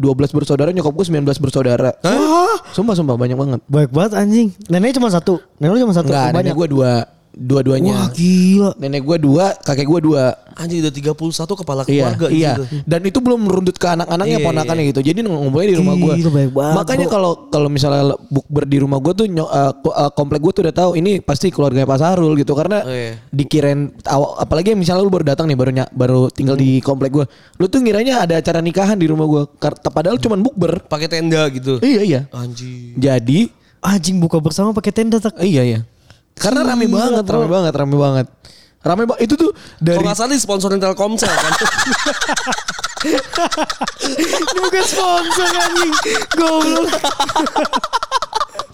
Speaker 3: 12 bersaudara, nyokap gue 19 bersaudara. Wah, Sumpah sumpah banyak banget.
Speaker 4: Baik banget anjing. Neneknya cuma satu. Nenek lu cuma satu.
Speaker 3: Enggak, nenek
Speaker 4: banyak.
Speaker 3: gue dua dua-duanya.
Speaker 4: Wah gila.
Speaker 3: Nenek gue dua, kakek gue dua.
Speaker 2: Anjing udah 31 kepala
Speaker 3: Iya,
Speaker 2: keluarga
Speaker 3: iya.
Speaker 2: gitu.
Speaker 3: Dan itu belum merundut ke anak-anaknya,
Speaker 2: Iya,
Speaker 3: ponakannya gitu. Jadi ngumpulnya di rumah gue.
Speaker 4: Gila, banyak banget,
Speaker 3: Makanya
Speaker 4: Bro.
Speaker 3: kalau kalau misalnya bukber di rumah gue tuh nyo- eh, ko- eh, komplek gue tuh udah tahu ini pasti keluarganya Pak Sarul gitu karena
Speaker 2: Oh, iya.
Speaker 3: dikirain aw- apalagi misalnya lu baru datang nih baru ny- baru tinggal
Speaker 2: Hmm.
Speaker 3: di komplek gue. Lu tuh ngiranya ada acara nikahan di rumah gue. Padahal cuman bukber.
Speaker 2: Pakai tenda gitu.
Speaker 3: Iya, iya.
Speaker 2: Anjing.
Speaker 3: Jadi
Speaker 4: Anjing buka bersama pakai tenda tak.
Speaker 3: iya, iya. Karena rame banget, rame banget, rame banget. Rame ba- itu tuh
Speaker 2: Kalau
Speaker 3: dari
Speaker 2: nggak salah sponsorin Telkomsel kan.
Speaker 4: Bukan sponsor anjing. Goblok.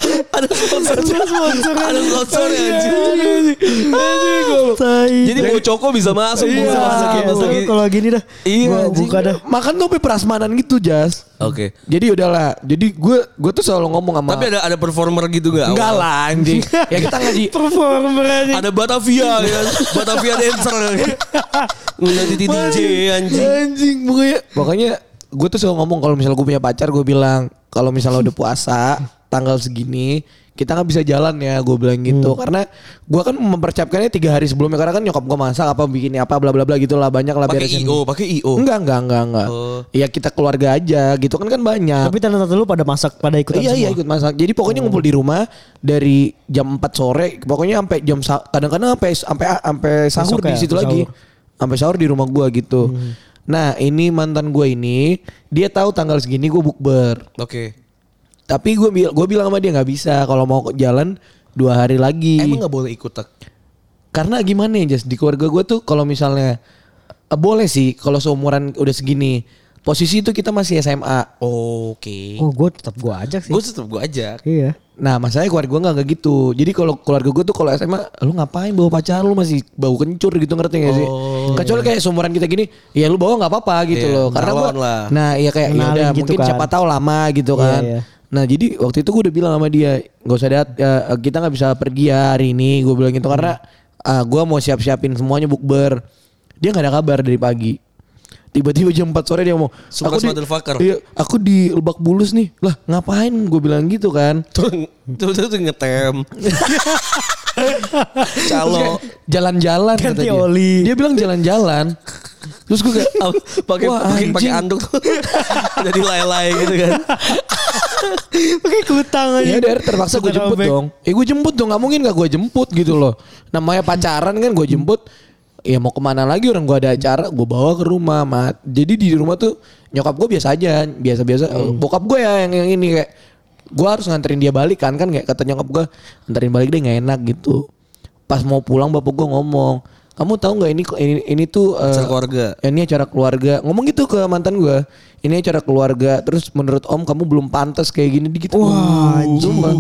Speaker 2: ada sponsor.
Speaker 4: Ada sponsor
Speaker 2: ada sponsor anjing.
Speaker 4: Tai.
Speaker 2: Jadi mau coko bisa masuk.
Speaker 4: Iya,
Speaker 2: bisa masuk gitu.
Speaker 4: seru kalau gini dah.
Speaker 2: Iya,
Speaker 4: Gua
Speaker 2: anjing.
Speaker 4: buka dah.
Speaker 3: makan tuh sampai prasmanan gitu, Jas.
Speaker 2: Oke.
Speaker 3: Jadi udahlah. Jadi gue gue tuh selalu ngomong sama
Speaker 2: Tapi ada ada performer gitu gak?
Speaker 3: enggak
Speaker 2: Awal?
Speaker 3: lah anjing. ya kita ngaji.
Speaker 4: Performer anjing.
Speaker 2: Ada Batavia ya. Batavia dancer. Udah di DJ anjing.
Speaker 3: anjing pokoknya pokoknya gue tuh selalu ngomong kalau misalnya gue punya pacar gue bilang kalau misalnya udah puasa tanggal segini kita nggak bisa jalan ya gue bilang gitu
Speaker 2: Hmm.
Speaker 3: karena gue kan mempersiapkannya tiga hari sebelumnya karena kan nyokap gue masak apa bikin apa bla bla bla gitu lah banyak lah
Speaker 2: Pakai
Speaker 3: beresin.
Speaker 2: IO, pakai IO.
Speaker 3: Enggak enggak enggak enggak.
Speaker 2: Oh.
Speaker 3: Ya kita keluarga aja gitu kan kan banyak.
Speaker 4: Tapi tanda-tanda lu pada masak, pada ikutan
Speaker 3: iya
Speaker 4: semua. Oh.
Speaker 3: iya ikut masak. Jadi pokoknya ngumpul di rumah dari jam 4 sore, pokoknya sampai jam sa- kadang-kadang sampai sampai sampai sahur
Speaker 4: Besok
Speaker 3: di
Speaker 4: ya,
Speaker 3: situ
Speaker 4: sampai
Speaker 3: lagi.
Speaker 4: sahur. Hmm.
Speaker 3: Sampai sahur di rumah gua gitu. Nah, ini mantan gua ini, dia tahu tanggal segini gua bukber.
Speaker 2: Oke.
Speaker 3: Tapi gua bil- gua bilang sama dia nggak bisa kalau mau ke- jalan dua hari lagi.
Speaker 2: Emang gak boleh ikut tak?
Speaker 3: Karena gimana ya, Jas? Di keluarga gua tuh kalau misalnya eh, boleh sih kalau seumuran udah segini. Posisi itu kita masih SMA.
Speaker 2: Oke.
Speaker 4: Oh, gue tetap gue ajak sih.
Speaker 2: Gue tetep gue ajak.
Speaker 4: Iya.
Speaker 3: Nah masalahnya keluarga gue gak, nggak gitu Jadi kalau keluarga gue tuh kalau SMA Lu ngapain bawa pacar lu masih bau kencur gitu ngerti gak sih
Speaker 4: Oh,
Speaker 3: Kecuali
Speaker 4: iya.
Speaker 3: kayak seumuran kita gini Ya lu bawa gak apa-apa gitu
Speaker 2: Iya,
Speaker 3: loh Karena gue
Speaker 2: kenalan lah.
Speaker 3: Nah iya kayak ya
Speaker 4: Kenalin
Speaker 3: udah
Speaker 4: gitu
Speaker 3: mungkin
Speaker 4: kan.
Speaker 3: siapa tahu lama gitu
Speaker 4: Iya,
Speaker 3: kan
Speaker 4: iya.
Speaker 3: Nah jadi waktu itu gue udah bilang sama dia Gak usah dat ya, kita gak bisa pergi ya hari ini Gue bilang gitu karena
Speaker 4: Hmm.
Speaker 3: ah, Gue mau siap-siapin semuanya bukber Dia gak ada kabar dari pagi Tiba-tiba jam 4 sore dia ngomong
Speaker 2: Suka
Speaker 3: aku di,
Speaker 2: motherfucker."
Speaker 3: iya, aku di Lebak Bulus nih Lah ngapain gue bilang gitu kan
Speaker 2: Terus terus terus ngetem.
Speaker 3: Terus
Speaker 2: Calo.
Speaker 3: kayak, jalan-jalan
Speaker 4: Ganti
Speaker 3: dia.
Speaker 4: oli.
Speaker 3: Dia bilang jalan-jalan. Terus gue kayak
Speaker 2: pakai
Speaker 3: wah,
Speaker 2: pakai pakai
Speaker 3: anjing.
Speaker 2: anduk tuh. Jadi lay-lay gitu kan.
Speaker 4: Pakai kutang
Speaker 3: Ya
Speaker 4: aja.
Speaker 2: Iya,
Speaker 3: udah akhirnya terpaksa gue
Speaker 4: Kutang
Speaker 3: jemput
Speaker 4: robek.
Speaker 3: dong. Eh gue jemput dong, nggak mungkin gak gue jemput gitu loh. Namanya pacaran kan gue jemput. Ya mau kemana lagi orang gue ada acara, gue bawa ke rumah. Mat. Jadi di rumah tuh nyokap gue biasa aja, biasa-biasa.
Speaker 2: Hmm.
Speaker 3: Bokap gue ya yang yang ini kayak gue harus nganterin dia balik kan kan kayak kata nyokap gue nganterin balik deh nggak enak gitu. Pas mau pulang bapak gue ngomong, kamu tahu nggak ini ini, ini tuh eh,
Speaker 2: Acara keluarga.
Speaker 3: Ya, ini acara keluarga ngomong gitu ke mantan gue ini acara keluarga terus menurut om kamu belum pantas kayak gini gitu
Speaker 4: Wah, anjing.
Speaker 3: Sumpah.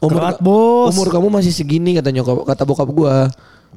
Speaker 3: umur
Speaker 4: Kerat, bos.
Speaker 3: umur kamu masih segini kata nyokap kata bokap gue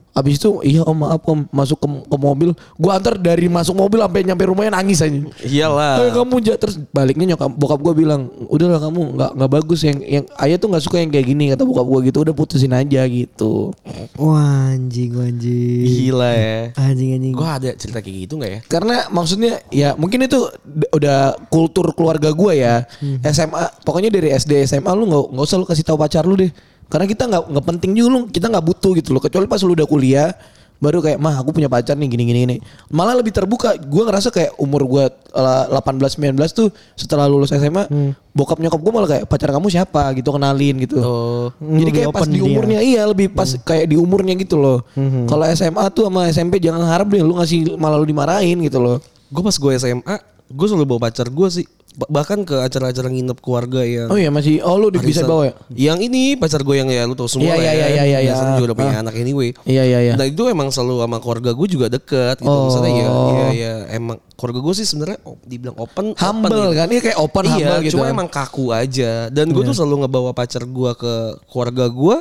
Speaker 3: Abis itu iya om maaf om masuk ke, ke mobil. Gua antar dari masuk mobil sampai nyampe rumahnya nangis aja.
Speaker 4: Ah.
Speaker 3: Kayak
Speaker 2: Iyalah.
Speaker 3: kamu ja terus baliknya nyokap bokap gue bilang udahlah kamu nggak nggak bagus yang yang ayah tuh nggak suka yang kayak gini kata bokap gue gitu udah putusin aja gitu
Speaker 4: Wah anjing anjing.
Speaker 2: Gila ya.
Speaker 4: Anjing anjing.
Speaker 2: Gue ada cerita kayak gitu nggak ya?
Speaker 3: karena maksudnya ya mungkin itu d- udah kultur keluarga gue ya
Speaker 4: Hmm.
Speaker 3: SMA pokoknya dari SD SMA lu nggak nggak usah lu kasih tahu pacar lu deh karena kita nggak nggak penting juga lu kita nggak butuh gitu loh kecuali pas lu udah kuliah baru kayak mah aku punya pacar nih gini gini gini malah lebih terbuka gue ngerasa kayak umur gue 18-19 tuh setelah lulus SMA
Speaker 4: Hmm.
Speaker 3: bokap nyokap gue malah kayak pacar kamu siapa gitu kenalin gitu jadi
Speaker 4: Oh. Hmm, Lebih
Speaker 3: kayak pas
Speaker 4: open
Speaker 3: di
Speaker 4: dia.
Speaker 3: umurnya iya lebih pas
Speaker 2: Hmm.
Speaker 3: kayak di umurnya gitu loh kalau SMA tuh sama SMP jangan harap deh lu ngasih malah lu dimarahin gitu loh
Speaker 2: Gue pas gue SMA, gue selalu bawa pacar gue sih. Ba- Bahkan ke acara-acara nginep keluarga yang
Speaker 3: oh iya masih oh lu di-
Speaker 2: Ya.
Speaker 3: bisa
Speaker 2: Arisan.
Speaker 3: bawa ya
Speaker 2: Yang ini pacar gue yang ya lu tau semua lah
Speaker 3: Iya, iya,
Speaker 2: ya.
Speaker 3: iya, iya, iya.
Speaker 2: Biasanya juga udah punya anak anyway.
Speaker 3: iya iya iya
Speaker 2: Nah itu emang selalu sama keluarga gue juga deket gitu. Misalnya ya, ya,
Speaker 3: Oh.
Speaker 2: ya emang keluarga gue sih sebenarnya op- dibilang open,
Speaker 3: humble
Speaker 2: open, gitu.
Speaker 3: kan ini kayak open
Speaker 2: iya,
Speaker 3: humble gitu
Speaker 2: cuma
Speaker 3: kan. Iya.
Speaker 2: emang kaku aja. Dan gue tuh selalu ngebawa pacar gue ke keluarga gue,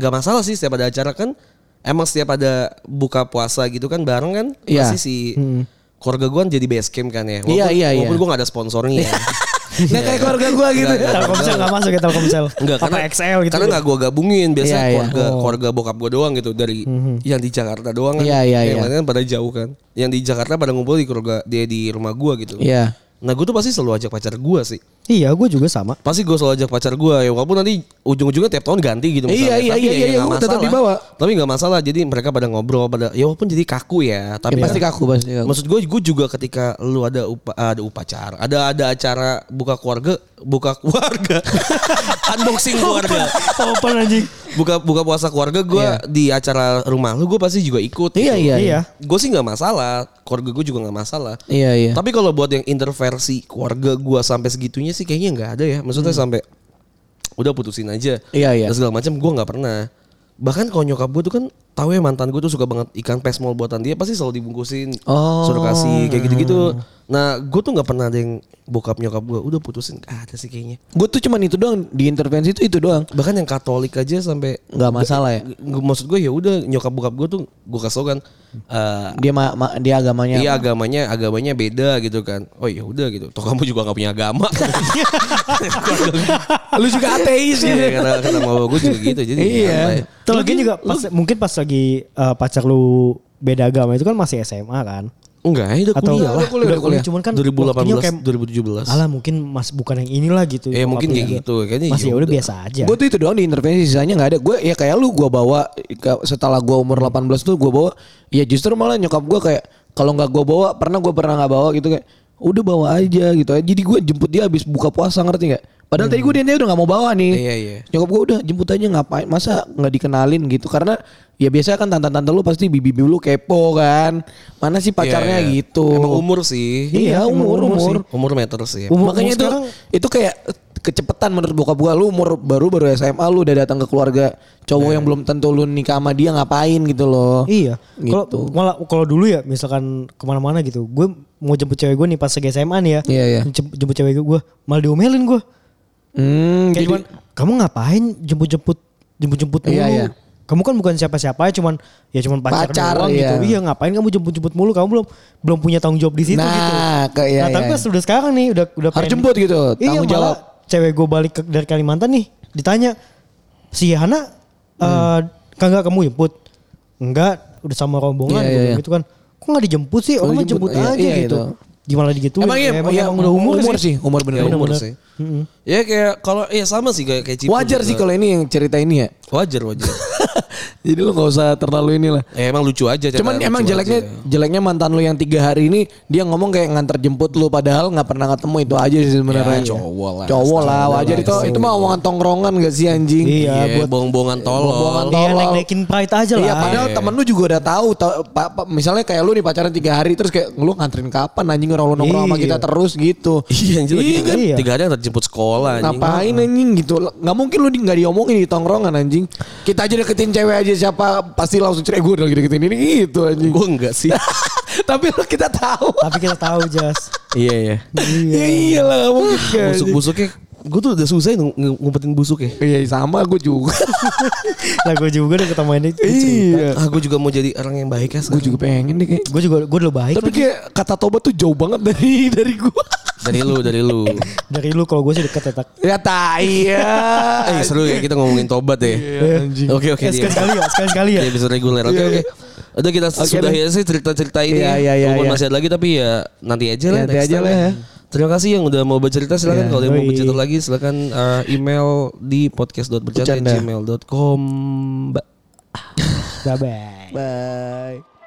Speaker 2: nggak masalah sih setiap ada acara kan. Emang setiap ada buka puasa gitu kan bareng kan,
Speaker 3: Iya.
Speaker 2: pasti si keluarga gue kan jadi base camp kan ya. Walaupun,
Speaker 3: Iya, iya, iya.
Speaker 2: walaupun gue gak ada sponsornya.
Speaker 3: nggak kayak keluarga gua gitu
Speaker 2: Nggak, nggak.
Speaker 4: Telkomsel nggak masuk ya Telkomsel.
Speaker 2: Enggak,
Speaker 4: Apa XL gitu.
Speaker 2: Karena
Speaker 4: ya?
Speaker 2: nggak gue gabungin biasanya
Speaker 3: Iya, iya.
Speaker 2: keluarga, keluarga bokap gue doang gitu dari yang di Jakarta doang kan.
Speaker 3: Iya, iya,
Speaker 2: yang
Speaker 3: iya.
Speaker 2: lainnya pada jauh kan. Yang di Jakarta pada ngumpul di keluarga dia di rumah gue gitu.
Speaker 3: iya
Speaker 2: Nah gue tuh pasti selalu ajak pacar gue sih.
Speaker 4: Iya, gue juga sama.
Speaker 2: Pasti gue selalu ajak pacar gue ya walaupun nanti ujung-ujungnya tiap tahun ganti gitu
Speaker 3: Iya, iya,
Speaker 2: Tapi
Speaker 3: iya,
Speaker 2: ya
Speaker 3: iya,
Speaker 2: nggak
Speaker 3: gua
Speaker 2: masalah.
Speaker 3: tetap dibawa.
Speaker 2: Tapi nggak masalah. Jadi mereka pada ngobrol pada ya walaupun jadi kaku ya. Tapi
Speaker 3: Ya, pasti kaku pasti kaku
Speaker 2: Maksud gue, gue juga ketika lu ada upa, ada upacara, ada ada acara buka keluarga, buka keluarga, unboxing keluarga,
Speaker 4: Open anjing.
Speaker 2: buka buka puasa keluarga gue di acara rumah lu gue pasti juga ikut
Speaker 3: iya iya
Speaker 4: Iya.
Speaker 2: gue sih nggak masalah keluarga gue juga nggak masalah
Speaker 3: iya iya
Speaker 2: tapi kalau buat yang interversi keluarga gue sampai segitunya sih kayaknya nggak ada ya maksudnya sampai udah putusin aja
Speaker 3: Hmm. Iya, iya.
Speaker 2: dan segala macam gue nggak pernah bahkan kalau nyokap gue tuh kan tahu ya mantan gue tuh suka banget ikan pesmol buatan dia pasti selalu dibungkusin
Speaker 3: Oh.
Speaker 2: suruh kasih kayak gitu-gitu nah gue tuh nggak pernah ada yang bokap nyokap gue udah putusin Nggak ada sih kayaknya
Speaker 3: gue tuh cuman itu doang di intervensi itu itu doang
Speaker 2: bahkan yang Katolik aja sampai
Speaker 3: nggak masalah ya
Speaker 2: Gu- maksud gue ya udah nyokap bokap gue tuh gue kasih tau kan
Speaker 3: Hmm.
Speaker 2: eh,
Speaker 3: dia ma- ma- dia agamanya
Speaker 2: Iya agamanya agamanya beda gitu kan. Oh ya udah gitu. Toh kamu juga nggak punya agama.
Speaker 3: lu juga ateis
Speaker 2: Iya karena kata mama gue juga gitu. Jadi
Speaker 3: Iya.
Speaker 2: santai.
Speaker 4: Terus lagi juga pas, mungkin pas lagi eh, pacar lu beda agama itu kan masih SMA kan?
Speaker 2: Enggak, ya udah
Speaker 4: Atau
Speaker 2: kuliah lah.
Speaker 4: Udah kuliah, udah kuliah. Cuman kan
Speaker 2: 2018
Speaker 4: waktunya kayak-
Speaker 2: 2017.
Speaker 4: Alah mungkin mas bukan yang inilah gitu.
Speaker 3: Iya,
Speaker 2: Ya, mungkin
Speaker 4: Bokapnya.
Speaker 2: kayak gitu. Kayaknya
Speaker 4: Masih
Speaker 2: ya
Speaker 4: ya udah
Speaker 2: udah.
Speaker 4: biasa aja.
Speaker 3: Gue tuh itu doang di intervensi sisanya nggak ada. Gue ya kayak lu gue bawa ke- setelah gue umur 18 tuh gue bawa. Ya justru malah nyokap gue kayak kalau nggak gue bawa pernah gue pernah nggak bawa gitu kayak udah bawa aja gitu. Jadi gue jemput dia habis buka puasa ngerti nggak? Padahal tadi gue dia udah nggak mau bawa nih.
Speaker 2: Hmm. Iya, iya.
Speaker 3: Nyokap gue udah jemput aja ngapain? Masa nggak dikenalin gitu? Karena ya biasanya kan tante-tante lu pasti bibi-bibi lu kepo kan. Mana sih pacarnya
Speaker 2: Iya, iya.
Speaker 3: gitu?
Speaker 2: Emang umur ya? sih.
Speaker 3: Iya, umur umur.
Speaker 2: Umur, umur meter sih.
Speaker 3: Iya.
Speaker 4: Umur-
Speaker 3: Makanya
Speaker 4: umur
Speaker 3: itu
Speaker 4: sekarang-
Speaker 3: itu kayak kecepetan menurut bokap gua lu umur baru baru SMA lu udah datang ke keluarga cowok yang belum tentu lu nikah sama dia ngapain gitu loh.
Speaker 4: Iya. Kalau
Speaker 3: Gitu.
Speaker 4: malah kalau dulu ya misalkan kemana-mana gitu, gue mau jemput cewek gue nih pas lagi SMA nih ya.
Speaker 3: Iya, iya.
Speaker 4: Jem- Jemput cewek gue, malah diomelin gue.
Speaker 3: Hmm,
Speaker 4: Kayak
Speaker 3: jadi
Speaker 4: cuman, kamu ngapain jemput-jemput jemput-jemput mulu?
Speaker 3: Iya, iya.
Speaker 4: Kamu kan bukan siapa-siapa cuman ya cuman pacar,
Speaker 3: Pacar,
Speaker 4: doang
Speaker 3: iya.
Speaker 4: gitu. Iya, ngapain kamu jemput-jemput mulu? Kamu belum belum punya tanggung jawab di situ
Speaker 3: Nah,
Speaker 4: gitu.
Speaker 3: ke- iya,
Speaker 4: nah, tapi
Speaker 3: iya.
Speaker 4: pas udah sekarang nih udah udah
Speaker 3: harus
Speaker 4: pengen-
Speaker 3: jemput gitu,
Speaker 4: Iya,
Speaker 3: tanggung
Speaker 4: malah
Speaker 3: jawab.
Speaker 4: Cewek gue balik ke- dari Kalimantan nih ditanya si Hana eh kagak kamu jemput? Enggak, udah sama rombongan
Speaker 3: Iya,
Speaker 4: gua
Speaker 3: iya,
Speaker 4: bilang
Speaker 3: iya.
Speaker 4: gitu kan. Kok nggak dijemput sih? Orang mah
Speaker 3: dijemput,
Speaker 4: jemput
Speaker 3: iya,
Speaker 4: aja
Speaker 3: iya,
Speaker 4: gitu.
Speaker 3: gitu.
Speaker 4: Gimana digituin?
Speaker 3: Emang iya,
Speaker 4: Ya,
Speaker 3: iya,
Speaker 4: udah umur,
Speaker 3: umur sih,
Speaker 4: sih.
Speaker 3: umur
Speaker 2: Ya,
Speaker 3: bener.
Speaker 2: umur
Speaker 4: bener-bener.
Speaker 2: sih. Ya kayak kalau ya sama sih kayak kayak Cipu
Speaker 3: Wajar
Speaker 2: juga.
Speaker 4: gitu.
Speaker 3: sih kalau ini yang cerita ini ya.
Speaker 2: Wajar wajar.
Speaker 3: jadi lu nggak usah terlalu inilah.
Speaker 2: ya, emang lucu aja. cerita
Speaker 3: Cuman
Speaker 2: lucu
Speaker 3: emang
Speaker 2: aja.
Speaker 3: jeleknya jeleknya mantan lu yang tiga hari ini dia ngomong kayak nganter jemput lu padahal nggak pernah ketemu itu aja sih sebenarnya.
Speaker 2: Ya, cowok lah.
Speaker 3: Cowok lah,
Speaker 2: Standar
Speaker 3: wajar
Speaker 2: lah,
Speaker 3: itu
Speaker 2: standar.
Speaker 3: itu mah omongan tongkrongan gak sih anjing?
Speaker 4: Iya,
Speaker 2: Iya,
Speaker 4: buat
Speaker 2: bohong-bohongan tolol.
Speaker 3: Bohongan tolol.
Speaker 4: Dia naik-naikin pride aja Gitu lah.
Speaker 3: Iya padahal temen lu juga udah tahu, tau- pa- pa- misalnya kayak lu nih pacaran tiga hari terus kayak lu nganterin kapan anjing orang lu nongkrong sama
Speaker 4: Iya.
Speaker 3: kita terus gitu.
Speaker 2: Iya anjir lagi
Speaker 4: Iya,
Speaker 2: tiga,
Speaker 4: iya.
Speaker 2: tiga hari terjemput sekolah anjing.
Speaker 3: Ngapain anjing gitu? Gak mungkin lu di- nggak diomongin di tongkrongan anjing. Kita aja deketin cewek aja siapa pasti langsung cerai gue udah lagi deketin ini gitu anjing.
Speaker 2: Gue enggak sih.
Speaker 3: Tapi lu kita tahu.
Speaker 4: Tapi kita tahu Jas.
Speaker 2: Iya iya.
Speaker 3: Iya iyalah nggak mungkin. kan.
Speaker 2: Busuk-busuknya Gue tuh udah susah ng- ng- ngumpetin busuk ya.
Speaker 3: Iya sama gue juga.
Speaker 4: lah gue juga udah ketemu ini
Speaker 2: Ah, gue juga mau jadi orang yang baik ya.
Speaker 3: gue juga pengen deh kayak.
Speaker 4: gue juga gue dulu baik
Speaker 3: Tapi kayak kata tobat tuh jauh banget dari dari gue.
Speaker 2: Dari lu, dari lu.
Speaker 4: dari lu kalau gue sih deket tetak
Speaker 3: Ya tai ya.
Speaker 2: eh seru ya kita ngomongin tobat ya.
Speaker 3: Iya,
Speaker 4: anjing
Speaker 2: Oke oke.
Speaker 4: Eh,
Speaker 2: dia.
Speaker 4: sekali sekali ya sekali sekali ya
Speaker 2: Iya bisa reguler. Oke oke. Udah kita sudah ya sih cerita-cerita ini.
Speaker 3: Iya, iya, iya,
Speaker 2: Walaupun
Speaker 3: iya.
Speaker 2: masih ada lagi tapi ya nanti aja lah. Iya,
Speaker 3: Nanti
Speaker 2: next
Speaker 3: aja
Speaker 2: time
Speaker 3: lah ya.
Speaker 2: Terima kasih yang udah mau bercerita silakan kalau yang mau
Speaker 4: yoi.
Speaker 2: bercerita lagi silakan eh, email di podcast.bercanda@gmail.com. Ba-
Speaker 4: bye bye
Speaker 3: Bye.